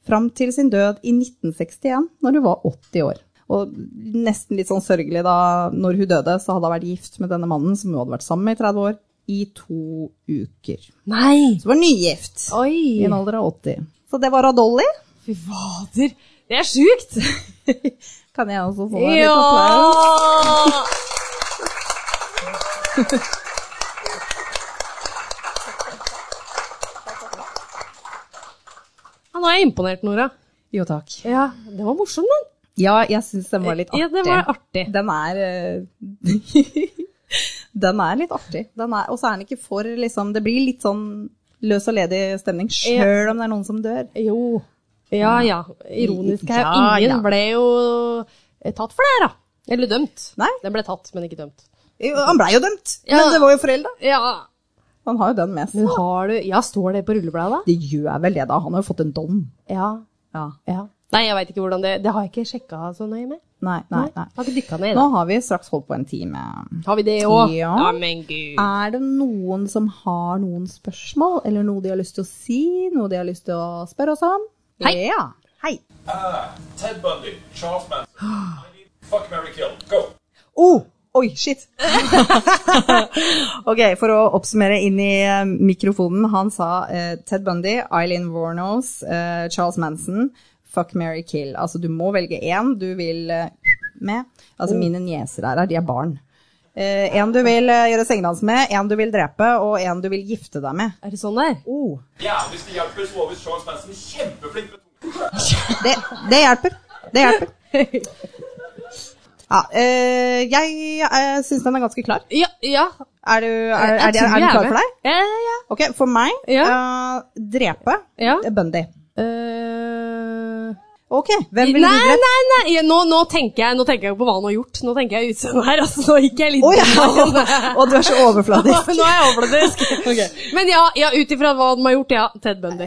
[SPEAKER 1] fram til sin død i 1961, når hun var 80 år. Og nesten litt sånn sørgelig da, når hun døde, så hadde hun vært gift med denne mannen, som hun hadde vært sammen med i 30 år, i to uker.
[SPEAKER 2] Nei!
[SPEAKER 1] Så hun var nygift. I
[SPEAKER 2] Oi!
[SPEAKER 1] en alder av 80. Så det var av Dolly.
[SPEAKER 2] Fy fader! Det er sjukt!
[SPEAKER 1] [LAUGHS] Kan jeg også få en liten applaus?
[SPEAKER 2] Ja! [LAUGHS] Ja, nå er jeg imponert, Nora.
[SPEAKER 1] Jo, takk.
[SPEAKER 2] Ja, Den var morsom, den.
[SPEAKER 1] Ja, jeg syns den var litt artig.
[SPEAKER 2] Ja, den var artig.
[SPEAKER 1] Den er eh, [LAUGHS] Den er litt artig. Den er, og så er den ikke for liksom Det blir litt sånn løs og ledig stemning, sjøl om det er noen som dør.
[SPEAKER 2] Jo. Ja ja. Ironisk her.
[SPEAKER 1] Ja, ja.
[SPEAKER 2] Ingen ble jo eh, tatt for det her, da. Eller dømt.
[SPEAKER 1] Nei.
[SPEAKER 2] Den ble tatt, men ikke dømt.
[SPEAKER 1] Jo, Han blei jo dømt,
[SPEAKER 2] Ja.
[SPEAKER 1] men det var jo forelda.
[SPEAKER 2] Ja,
[SPEAKER 1] Han har jo den med
[SPEAKER 2] men
[SPEAKER 1] seg.
[SPEAKER 2] har du Ja, står det på rullebladet?
[SPEAKER 1] Det gjør vel det, da. Han har jo fått en dom.
[SPEAKER 2] Ja.
[SPEAKER 1] Ja.
[SPEAKER 2] ja. Nei, jeg veit ikke hvordan det Det har jeg ikke sjekka så nøye med.
[SPEAKER 1] Nei, nei, nei.
[SPEAKER 2] Har ikke dykka ned i
[SPEAKER 1] Nå
[SPEAKER 2] det.
[SPEAKER 1] har vi straks holdt på en time.
[SPEAKER 2] Har vi det òg?
[SPEAKER 1] Ja.
[SPEAKER 2] men gud.
[SPEAKER 1] Er det noen som har noen spørsmål, eller noe de har lyst til å si, noe de har lyst til å spørre oss om?
[SPEAKER 2] Hei.
[SPEAKER 1] Ja. Hei.
[SPEAKER 3] Ah, Ted Bundy, Charles Manson. I need fuck Mary Kill. Go.
[SPEAKER 1] Oh, oi, shit. [LAUGHS] ok, for å oppsummere inn i eh, mikrofonen. Han sa eh, Ted Bundy, Eileen Warnos, eh, Charles Manson, fuck, marry, kill. Altså, du må velge én du vil eh, med. Altså, mine nieser her, de er barn. Eh, en du vil eh, gjøre sengedans med, en du vil drepe, og en du vil gifte deg med.
[SPEAKER 2] Er det sånn der?
[SPEAKER 1] Oh,
[SPEAKER 3] Ja, hvis det hjelper, så var visst Charles Manson kjempeflink med tunga.
[SPEAKER 1] det, det hjelper. Det hjelper. Ja, eh, jeg uh, syns den er ganske klar.
[SPEAKER 2] Ja. ja.
[SPEAKER 1] Er du, er, er,
[SPEAKER 2] Jeg
[SPEAKER 1] de-
[SPEAKER 2] tror
[SPEAKER 1] er du
[SPEAKER 2] jeg
[SPEAKER 1] klar
[SPEAKER 2] med.
[SPEAKER 1] for deg?
[SPEAKER 2] Ja, ja, ja.
[SPEAKER 1] Ok, for meg
[SPEAKER 2] Ja.
[SPEAKER 1] eh, drepe
[SPEAKER 2] Ja.
[SPEAKER 1] eh, Bundy.
[SPEAKER 2] Eh,
[SPEAKER 1] Ok, hvem ville du
[SPEAKER 2] nei,
[SPEAKER 1] drept?
[SPEAKER 2] nei, nei, ja, nå, nå, tenker jeg, nå tenker jeg jo på hva han har gjort. Nå tenker jeg utseendet her. Altså, nå gikk jeg litt
[SPEAKER 1] Å [LAUGHS]
[SPEAKER 2] inn på-
[SPEAKER 1] ja! Og du er så overfladisk.
[SPEAKER 2] Nå er jeg
[SPEAKER 1] [LAUGHS]
[SPEAKER 2] overfladisk. Men ja, ja ut ifra hva han har gjort, [LAUGHS] ja. Ted Bundy.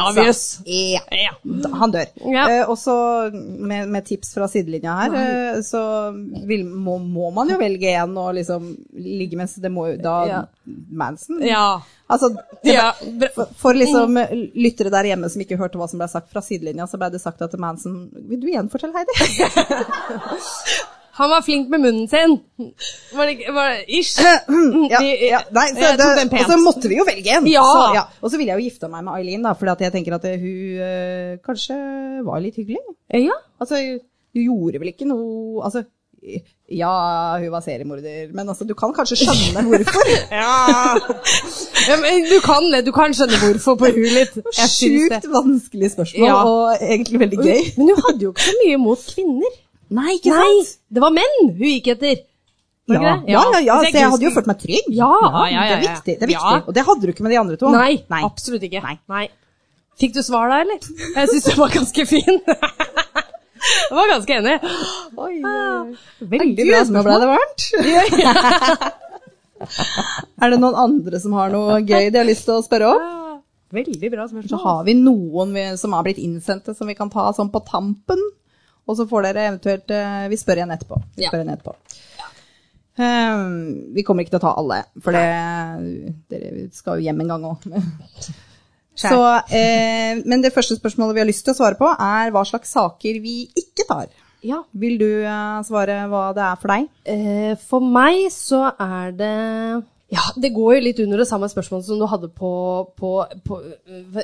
[SPEAKER 2] Obvious.
[SPEAKER 1] Ja.
[SPEAKER 2] Ja.
[SPEAKER 1] Han dør.
[SPEAKER 2] Ja.
[SPEAKER 1] Eh, også med, med tips fra sidelinja her, eh, så vil, må, må man jo velge en og liksom ligge mens det må jo da
[SPEAKER 2] Ja.
[SPEAKER 1] Manson.
[SPEAKER 2] ja.
[SPEAKER 1] Altså, det,
[SPEAKER 2] ja. bra.
[SPEAKER 1] for, for liksom eh, lyttere der hjemme som ikke hørte hva som ble sagt fra sidelinja, så ble det sagt at Manson Vil du gjenfortelle, Heidi?
[SPEAKER 2] Han var flink med munnen sin. Var det ikke- var det, Ish. Mm,
[SPEAKER 1] ja, ja, nei, så det,
[SPEAKER 2] jeg tok den
[SPEAKER 1] og
[SPEAKER 2] pent.
[SPEAKER 1] så måtte vi jo velge en.
[SPEAKER 2] Ja.
[SPEAKER 1] Så, ja. Og så ville jeg jo gifte meg med Eileen, da, for jeg tenker at eh, hun eh, kanskje var litt hyggelig.
[SPEAKER 2] Ja.
[SPEAKER 1] Altså, du gjorde vel ikke noe Altså, ja, hun var seriemorder, men altså, du kan kanskje
[SPEAKER 2] [LAUGHS]
[SPEAKER 1] skjønne hvorfor?
[SPEAKER 2] ja men du kan det. Du kan skjønne hvorfor på huet litt. Jeg syns det.
[SPEAKER 1] Sjukt vanskelig spørsmål,
[SPEAKER 2] Ja.
[SPEAKER 1] og egentlig veldig gøy.
[SPEAKER 2] Men hun hadde jo ikke så mye mot kvinner.
[SPEAKER 1] Nei,
[SPEAKER 2] Nei, det var menn hun gikk etter. Var
[SPEAKER 1] Ja,
[SPEAKER 2] det
[SPEAKER 1] ja,
[SPEAKER 2] ikke det?
[SPEAKER 1] ja, ja,
[SPEAKER 2] Hvis jeg
[SPEAKER 1] så jeg
[SPEAKER 2] ikke
[SPEAKER 1] hadde jo
[SPEAKER 2] husker-
[SPEAKER 1] følt meg trygg.
[SPEAKER 2] Ja, ja, ja,
[SPEAKER 1] Det er
[SPEAKER 2] ja.
[SPEAKER 1] viktig, det er
[SPEAKER 2] Ja.
[SPEAKER 1] viktig. Og det hadde du ikke med de andre to.
[SPEAKER 2] Nei,
[SPEAKER 1] Nei.
[SPEAKER 2] absolutt ikke.
[SPEAKER 1] Nei.
[SPEAKER 2] Fikk du svar da, eller? Jeg syns den var ganske fin. [LAUGHS] Jeg var ganske enig.
[SPEAKER 1] Oi,
[SPEAKER 2] Ah. Veldig
[SPEAKER 1] Gud,
[SPEAKER 2] bra
[SPEAKER 1] nå ble
[SPEAKER 2] spørsmål.
[SPEAKER 1] det varmt. [LAUGHS] Er det noen andre som har noe gøy de har lyst til å spørre om?
[SPEAKER 2] Veldig bra
[SPEAKER 1] Så
[SPEAKER 2] spørsmål.
[SPEAKER 1] har vi noen vi, som har blitt innsendte, som vi kan ta sånn på tampen. Og så får dere eventuelt eh, Vi spør igjen etterpå. Vi,
[SPEAKER 2] Ja.
[SPEAKER 1] spør igjen etterpå. Ehm, vi kommer ikke til å ta alle, for det, dere skal jo hjem en gang òg. [LAUGHS] Så, eh, men det første spørsmålet vi har lyst til å svare på, er hva slags saker vi ikke tar.
[SPEAKER 2] Ja.
[SPEAKER 1] Vil du eh, svare hva det er for deg?
[SPEAKER 2] Eh, for meg så er det ja, Det går jo litt under det samme spørsmålet som du hadde på, på, på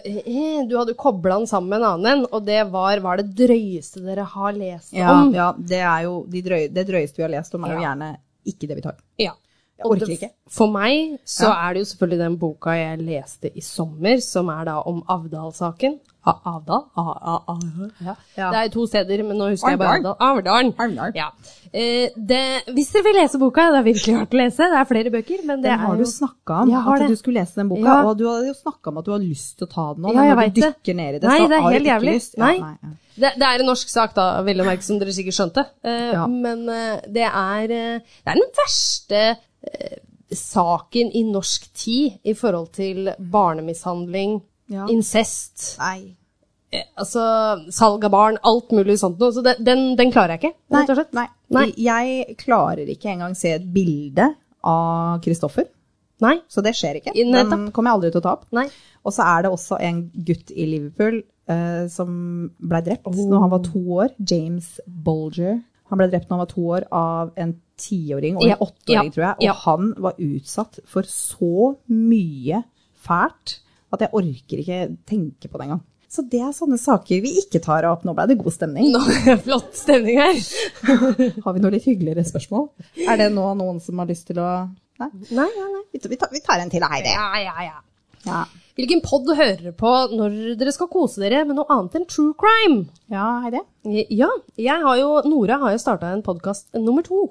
[SPEAKER 2] eh, Du hadde kobla den sammen med en annen en, og det var hva er det drøyeste dere har lest om?
[SPEAKER 1] ja det, er jo de drøy, det drøyeste vi har lest om, er jo gjerne ikke det vi tar.
[SPEAKER 2] Ja.
[SPEAKER 1] Jeg orker
[SPEAKER 2] Og det-
[SPEAKER 1] ikke.
[SPEAKER 2] For meg så
[SPEAKER 1] Ja.
[SPEAKER 2] er det jo selvfølgelig den boka jeg leste i sommer, som er da om Avdal-saken. A- Avdal? A -a -a ja.
[SPEAKER 1] Ja.
[SPEAKER 2] Det er to steder, men nå husker jeg bare
[SPEAKER 1] Arendal.
[SPEAKER 2] Avdal. Arendal.
[SPEAKER 1] Arendal.
[SPEAKER 2] Ja. Eh, det, hvis dere vil lese boka, det er virkelig verdt å lese. Det er flere bøker, men det
[SPEAKER 1] Den
[SPEAKER 2] er
[SPEAKER 1] har du
[SPEAKER 2] jo
[SPEAKER 1] snakka om,
[SPEAKER 2] Jeg har
[SPEAKER 1] at
[SPEAKER 2] det.
[SPEAKER 1] du skulle lese den boka.
[SPEAKER 2] Ja.
[SPEAKER 1] Og du hadde jo snakka om at du har lyst til å ta den nå.
[SPEAKER 2] Ja,
[SPEAKER 1] men
[SPEAKER 2] jeg
[SPEAKER 1] når
[SPEAKER 2] vet
[SPEAKER 1] du
[SPEAKER 2] det.
[SPEAKER 1] dykker ned i det,
[SPEAKER 2] Nei,
[SPEAKER 1] så
[SPEAKER 2] det er
[SPEAKER 1] har du
[SPEAKER 2] helt
[SPEAKER 1] ikke
[SPEAKER 2] jævlig.
[SPEAKER 1] lyst.
[SPEAKER 2] Nei.
[SPEAKER 1] ja.
[SPEAKER 2] Det, det er en norsk sak, da, vil jeg merke, som dere sikkert skjønte. Eh,
[SPEAKER 1] Ja.
[SPEAKER 2] Men eh, det, er, eh, det er den verste eh, saken i norsk tid i forhold til barnemishandling,
[SPEAKER 1] Ja.
[SPEAKER 2] incest,
[SPEAKER 1] Nei.
[SPEAKER 2] eh, altså salg av barn, alt mulig sånt noe. Så det, den, den klarer jeg ikke,
[SPEAKER 1] Nei.
[SPEAKER 2] rett og slett.
[SPEAKER 1] Nei.
[SPEAKER 2] Nei.
[SPEAKER 1] Jeg klarer ikke engang se et bilde av Kristoffer,
[SPEAKER 2] Nei.
[SPEAKER 1] så det skjer ikke.
[SPEAKER 2] I-
[SPEAKER 1] Den
[SPEAKER 2] nettopp.
[SPEAKER 1] kommer jeg aldri til å ta opp.
[SPEAKER 2] Nei.
[SPEAKER 1] Og så er det også en gutt i Liverpool eh, som ble drept når han var to år. James Bolger. Han ble drept når han var to år av en tiåring og
[SPEAKER 2] Ja,
[SPEAKER 1] en åtteåring,
[SPEAKER 2] ja,
[SPEAKER 1] tror jeg. Og
[SPEAKER 2] ja.
[SPEAKER 1] han var utsatt for så mye fælt at jeg orker ikke tenke på det engang. Så det er sånne saker vi ikke tar opp. Nå ble det god stemning.
[SPEAKER 2] Nå, flott stemning her.
[SPEAKER 1] [LAUGHS] Har vi noe litt hyggeligere spørsmål? Er det nå noen som har lyst til å Nei?
[SPEAKER 2] Nei, ja, nei.
[SPEAKER 1] Vi tar- vi tar, vi tar en til, Heidi.
[SPEAKER 2] Ja, ja, ja.
[SPEAKER 1] Ja.
[SPEAKER 2] Hvilken pod hører dere på når dere skal kose dere med noe annet enn true crime?
[SPEAKER 1] ja, Heidi.
[SPEAKER 2] Ja, jeg har jo, Nora har jo starta en podkast nummer to.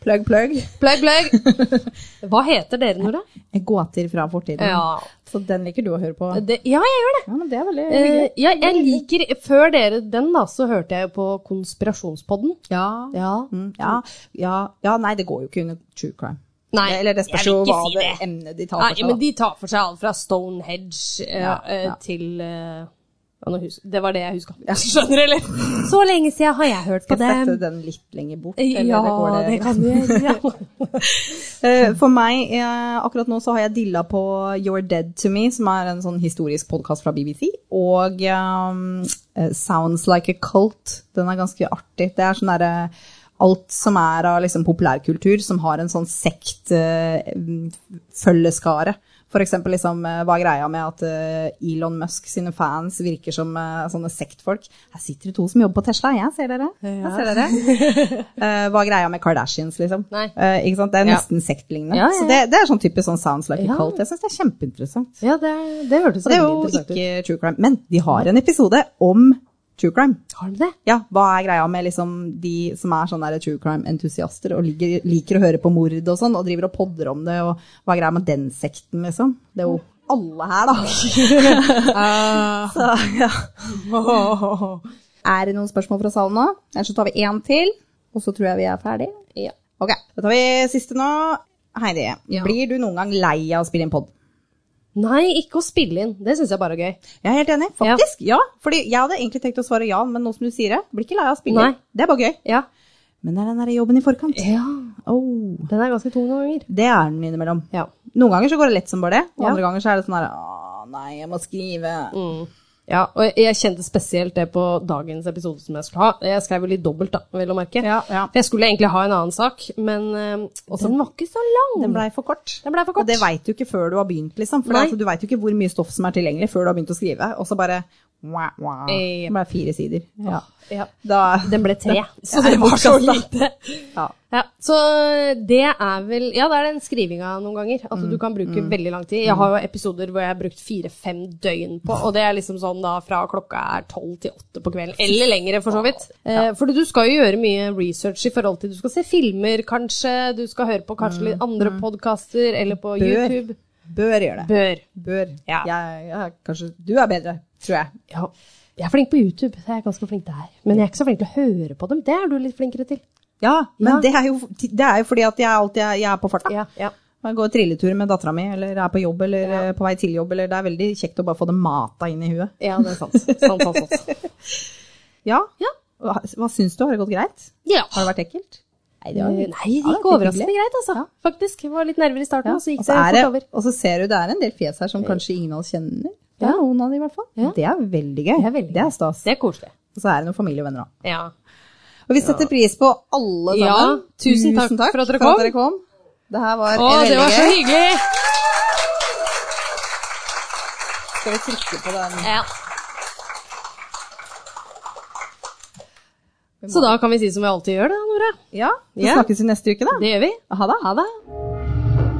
[SPEAKER 1] Plugg, plugg.
[SPEAKER 2] Plugg, plugg! [LAUGHS] Hva heter dere, Nora?
[SPEAKER 1] Gåter fra fortiden.
[SPEAKER 2] Ja.
[SPEAKER 1] Så den liker du å høre på?
[SPEAKER 2] Det, ja, jeg gjør det.
[SPEAKER 1] Ja, men det er veldig
[SPEAKER 2] Eh, ja, jeg liker, Før dere den, da, så hørte jeg jo på Konspirasjonspodden.
[SPEAKER 1] ja. Ja.
[SPEAKER 2] Ja.
[SPEAKER 1] Mm, ja, ja, ja, nei, det går jo ikke under true crime.
[SPEAKER 2] Nei,
[SPEAKER 1] Eller det spørs
[SPEAKER 2] jeg
[SPEAKER 1] jo
[SPEAKER 2] vil ikke
[SPEAKER 1] hva
[SPEAKER 2] si
[SPEAKER 1] det
[SPEAKER 2] det.
[SPEAKER 1] emnet de tar
[SPEAKER 2] Nei,
[SPEAKER 1] for seg.
[SPEAKER 2] men
[SPEAKER 1] da.
[SPEAKER 2] de tar for seg alt fra Stonehedge eh,
[SPEAKER 1] Ja,
[SPEAKER 2] eh,
[SPEAKER 1] ja.
[SPEAKER 2] til eh, ja, nå hus Det var det jeg huska. [LAUGHS] Skjønner du, eller? Så lenge siden har jeg hørt på
[SPEAKER 1] Skal
[SPEAKER 2] det.
[SPEAKER 1] sette den litt lenger bort?
[SPEAKER 2] Eh,
[SPEAKER 1] eller
[SPEAKER 2] Ja,
[SPEAKER 1] går
[SPEAKER 2] det kan du [LAUGHS] gjøre.
[SPEAKER 1] Eh, For meg, eh, akkurat nå så har jeg dilla på You're Dead To Me, som er en sånn historisk podkast fra BBC, og ehm, eh, Sounds Like A Cult. Den er ganske artig. Det er sånn derre Alt som er av liksom populærkultur, som har en sånn sekt eh, følgeskare. For eksempel liksom, eh, hva er greia med at eh, Elon Musk sine fans virker som eh, sånne sektfolk? Her sitter det to som jobber på Tesla, jeg ser dere. Jeg ser dere.
[SPEAKER 2] [LAUGHS]
[SPEAKER 1] Eh, hva er greia med Kardashians, liksom?
[SPEAKER 2] Nei.
[SPEAKER 1] Eh, ikke sant? Det er
[SPEAKER 2] Ja.
[SPEAKER 1] nesten sektlignende.
[SPEAKER 2] Ja, ja,
[SPEAKER 1] Så det, det er sånn typisk sånn sounds like
[SPEAKER 2] Ja.
[SPEAKER 1] a cult. Jeg syns det er kjempeinteressant.
[SPEAKER 2] Ja, det, det hørtes
[SPEAKER 1] Så det er jo
[SPEAKER 2] veldig interessant ut.
[SPEAKER 1] ikke true crime. Men de har en episode om true crime.
[SPEAKER 2] Har de det?
[SPEAKER 1] Ja, hva er greia med liksom de som er sånne der true crime-entusiaster og liker, liker å høre på mord og sånn, og driver og podder om det, og hva er greia med den sekten, liksom? Det er jo alle her,
[SPEAKER 2] [LAUGHS]
[SPEAKER 1] da. Så, ja. Er det noen spørsmål fra salen nå? Ellers så tar vi én til, og så tror jeg vi er ferdig.
[SPEAKER 2] Ja.
[SPEAKER 1] Ok, da tar vi siste nå. Heidi,
[SPEAKER 2] Ja.
[SPEAKER 1] blir du noen gang lei av å spille inn pod?
[SPEAKER 2] Nei, ikke å spille inn. Det syns jeg bare er gøy.
[SPEAKER 1] Jeg er helt enig, faktisk. Ja. Fordi jeg hadde egentlig tenkt å svare ja, men nå som du sier det, blir ikke lei av å spille.
[SPEAKER 2] Nei.
[SPEAKER 1] inn. Det er bare gøy.
[SPEAKER 2] Ja.
[SPEAKER 1] Men det er den der jobben i forkant.
[SPEAKER 2] Eh.
[SPEAKER 1] Oh.
[SPEAKER 2] Den er ganske tung noen ganger.
[SPEAKER 1] Det er den innimellom.
[SPEAKER 2] Ja.
[SPEAKER 1] Noen ganger så går det lett som bare det, og
[SPEAKER 2] Ja. Mm.
[SPEAKER 1] andre ganger så er det sånn her Å, nei, jeg må skrive.
[SPEAKER 2] Ja, og jeg- jeg kjente spesielt det på dagens episode som jeg skulle ha. Jeg skrev jo litt dobbelt, da, vel å merke.
[SPEAKER 1] Ja, ja.
[SPEAKER 2] For jeg skulle egentlig ha en annen sak, men eh, den var ikke så lang.
[SPEAKER 1] Den blei for kort.
[SPEAKER 2] Den ble for kort.
[SPEAKER 1] Og det veit du ikke før du har begynt, liksom. For
[SPEAKER 2] Nei.
[SPEAKER 1] altså, du veit jo ikke hvor mye stoff som er tilgjengelig før du har begynt å skrive, og så bare wah, wah.
[SPEAKER 2] Eh, ja.
[SPEAKER 1] Det ble fire sider. Ja.
[SPEAKER 2] ja.
[SPEAKER 1] Da
[SPEAKER 2] Den ble tre, [LAUGHS] så
[SPEAKER 1] Ja,
[SPEAKER 2] det
[SPEAKER 1] det
[SPEAKER 2] var
[SPEAKER 1] var
[SPEAKER 2] så
[SPEAKER 1] kort, da.
[SPEAKER 2] lite.
[SPEAKER 1] ja.
[SPEAKER 2] Ja, så det er vel Ja, det er den skrivinga noen ganger. At du kan bruke veldig lang tid. Jeg har jo episoder hvor jeg har brukt fire-fem døgn på, og det er liksom sånn da fra klokka er tolv til åtte på kvelden. Eller lengre, for så vidt. Eh, fordi du skal jo gjøre mye research i forhold til Du skal se filmer, kanskje. Du skal høre på kanskje litt andre podkaster, eller på
[SPEAKER 1] Bør.
[SPEAKER 2] YouTube.
[SPEAKER 1] Bør gjøre det.
[SPEAKER 2] Bør.
[SPEAKER 1] Bør.
[SPEAKER 2] Ja.
[SPEAKER 1] Jeg, jeg, kanskje du er bedre, tror jeg.
[SPEAKER 2] Ja. Jeg er flink på YouTube, jeg er ganske flink der. Men jeg er ikke så flink til å høre på dem. Det er du litt flinkere til.
[SPEAKER 1] Ja, men
[SPEAKER 2] Ja.
[SPEAKER 1] Det, er jo, det er jo fordi at jeg alltid er, jeg er på farta.
[SPEAKER 2] Ja, ja.
[SPEAKER 1] Jeg går trilletur med dattera mi, eller er på jobb, eller eh, på vei til jobb, eller det er veldig kjekt å bare få det mata inn i huet.
[SPEAKER 2] Ja, det er sant. sant, sant, [LAUGHS] sant.
[SPEAKER 1] Ja.
[SPEAKER 2] Ja.
[SPEAKER 1] Hva, hva syns du? Har det gått greit?
[SPEAKER 2] ja.
[SPEAKER 1] Har det vært ekkelt? Nei,
[SPEAKER 2] Eh, Nei, det
[SPEAKER 1] Ja, det
[SPEAKER 2] gikk
[SPEAKER 1] var
[SPEAKER 2] overraskende
[SPEAKER 1] hyggelig.
[SPEAKER 2] greit, altså. Faktisk. Jeg var litt nervere i starten,
[SPEAKER 1] Ja.
[SPEAKER 2] og så gikk
[SPEAKER 1] Og
[SPEAKER 2] det
[SPEAKER 1] så er
[SPEAKER 2] fort
[SPEAKER 1] det,
[SPEAKER 2] over.
[SPEAKER 1] og så ser du det er en del fjes her som kanskje ingen av oss kjenner. Det er
[SPEAKER 2] Ja.
[SPEAKER 1] noen av de i hvert fall.
[SPEAKER 2] Ja.
[SPEAKER 1] Det er veldig gøy.
[SPEAKER 2] Det er veldig gøy.
[SPEAKER 1] stas.
[SPEAKER 2] Det er koselig.
[SPEAKER 1] Og så er det noen familie og venner òg.
[SPEAKER 2] Ja.
[SPEAKER 1] Og vi setter pris på alle
[SPEAKER 2] Ja,
[SPEAKER 1] sammen.
[SPEAKER 2] tusen takk for at dere kom.
[SPEAKER 1] Det her var
[SPEAKER 2] Å,
[SPEAKER 1] veldig
[SPEAKER 2] det var så
[SPEAKER 1] gøy.
[SPEAKER 2] hyggelig!
[SPEAKER 1] Skal vi trykke på den?
[SPEAKER 2] Ja. Så da kan vi si som vi alltid gjør, da, Nora.
[SPEAKER 1] Ja, så
[SPEAKER 2] Ja.
[SPEAKER 1] snakkes vi neste uke, da.
[SPEAKER 2] Det gjør vi.
[SPEAKER 1] Ha det.
[SPEAKER 2] Ha det.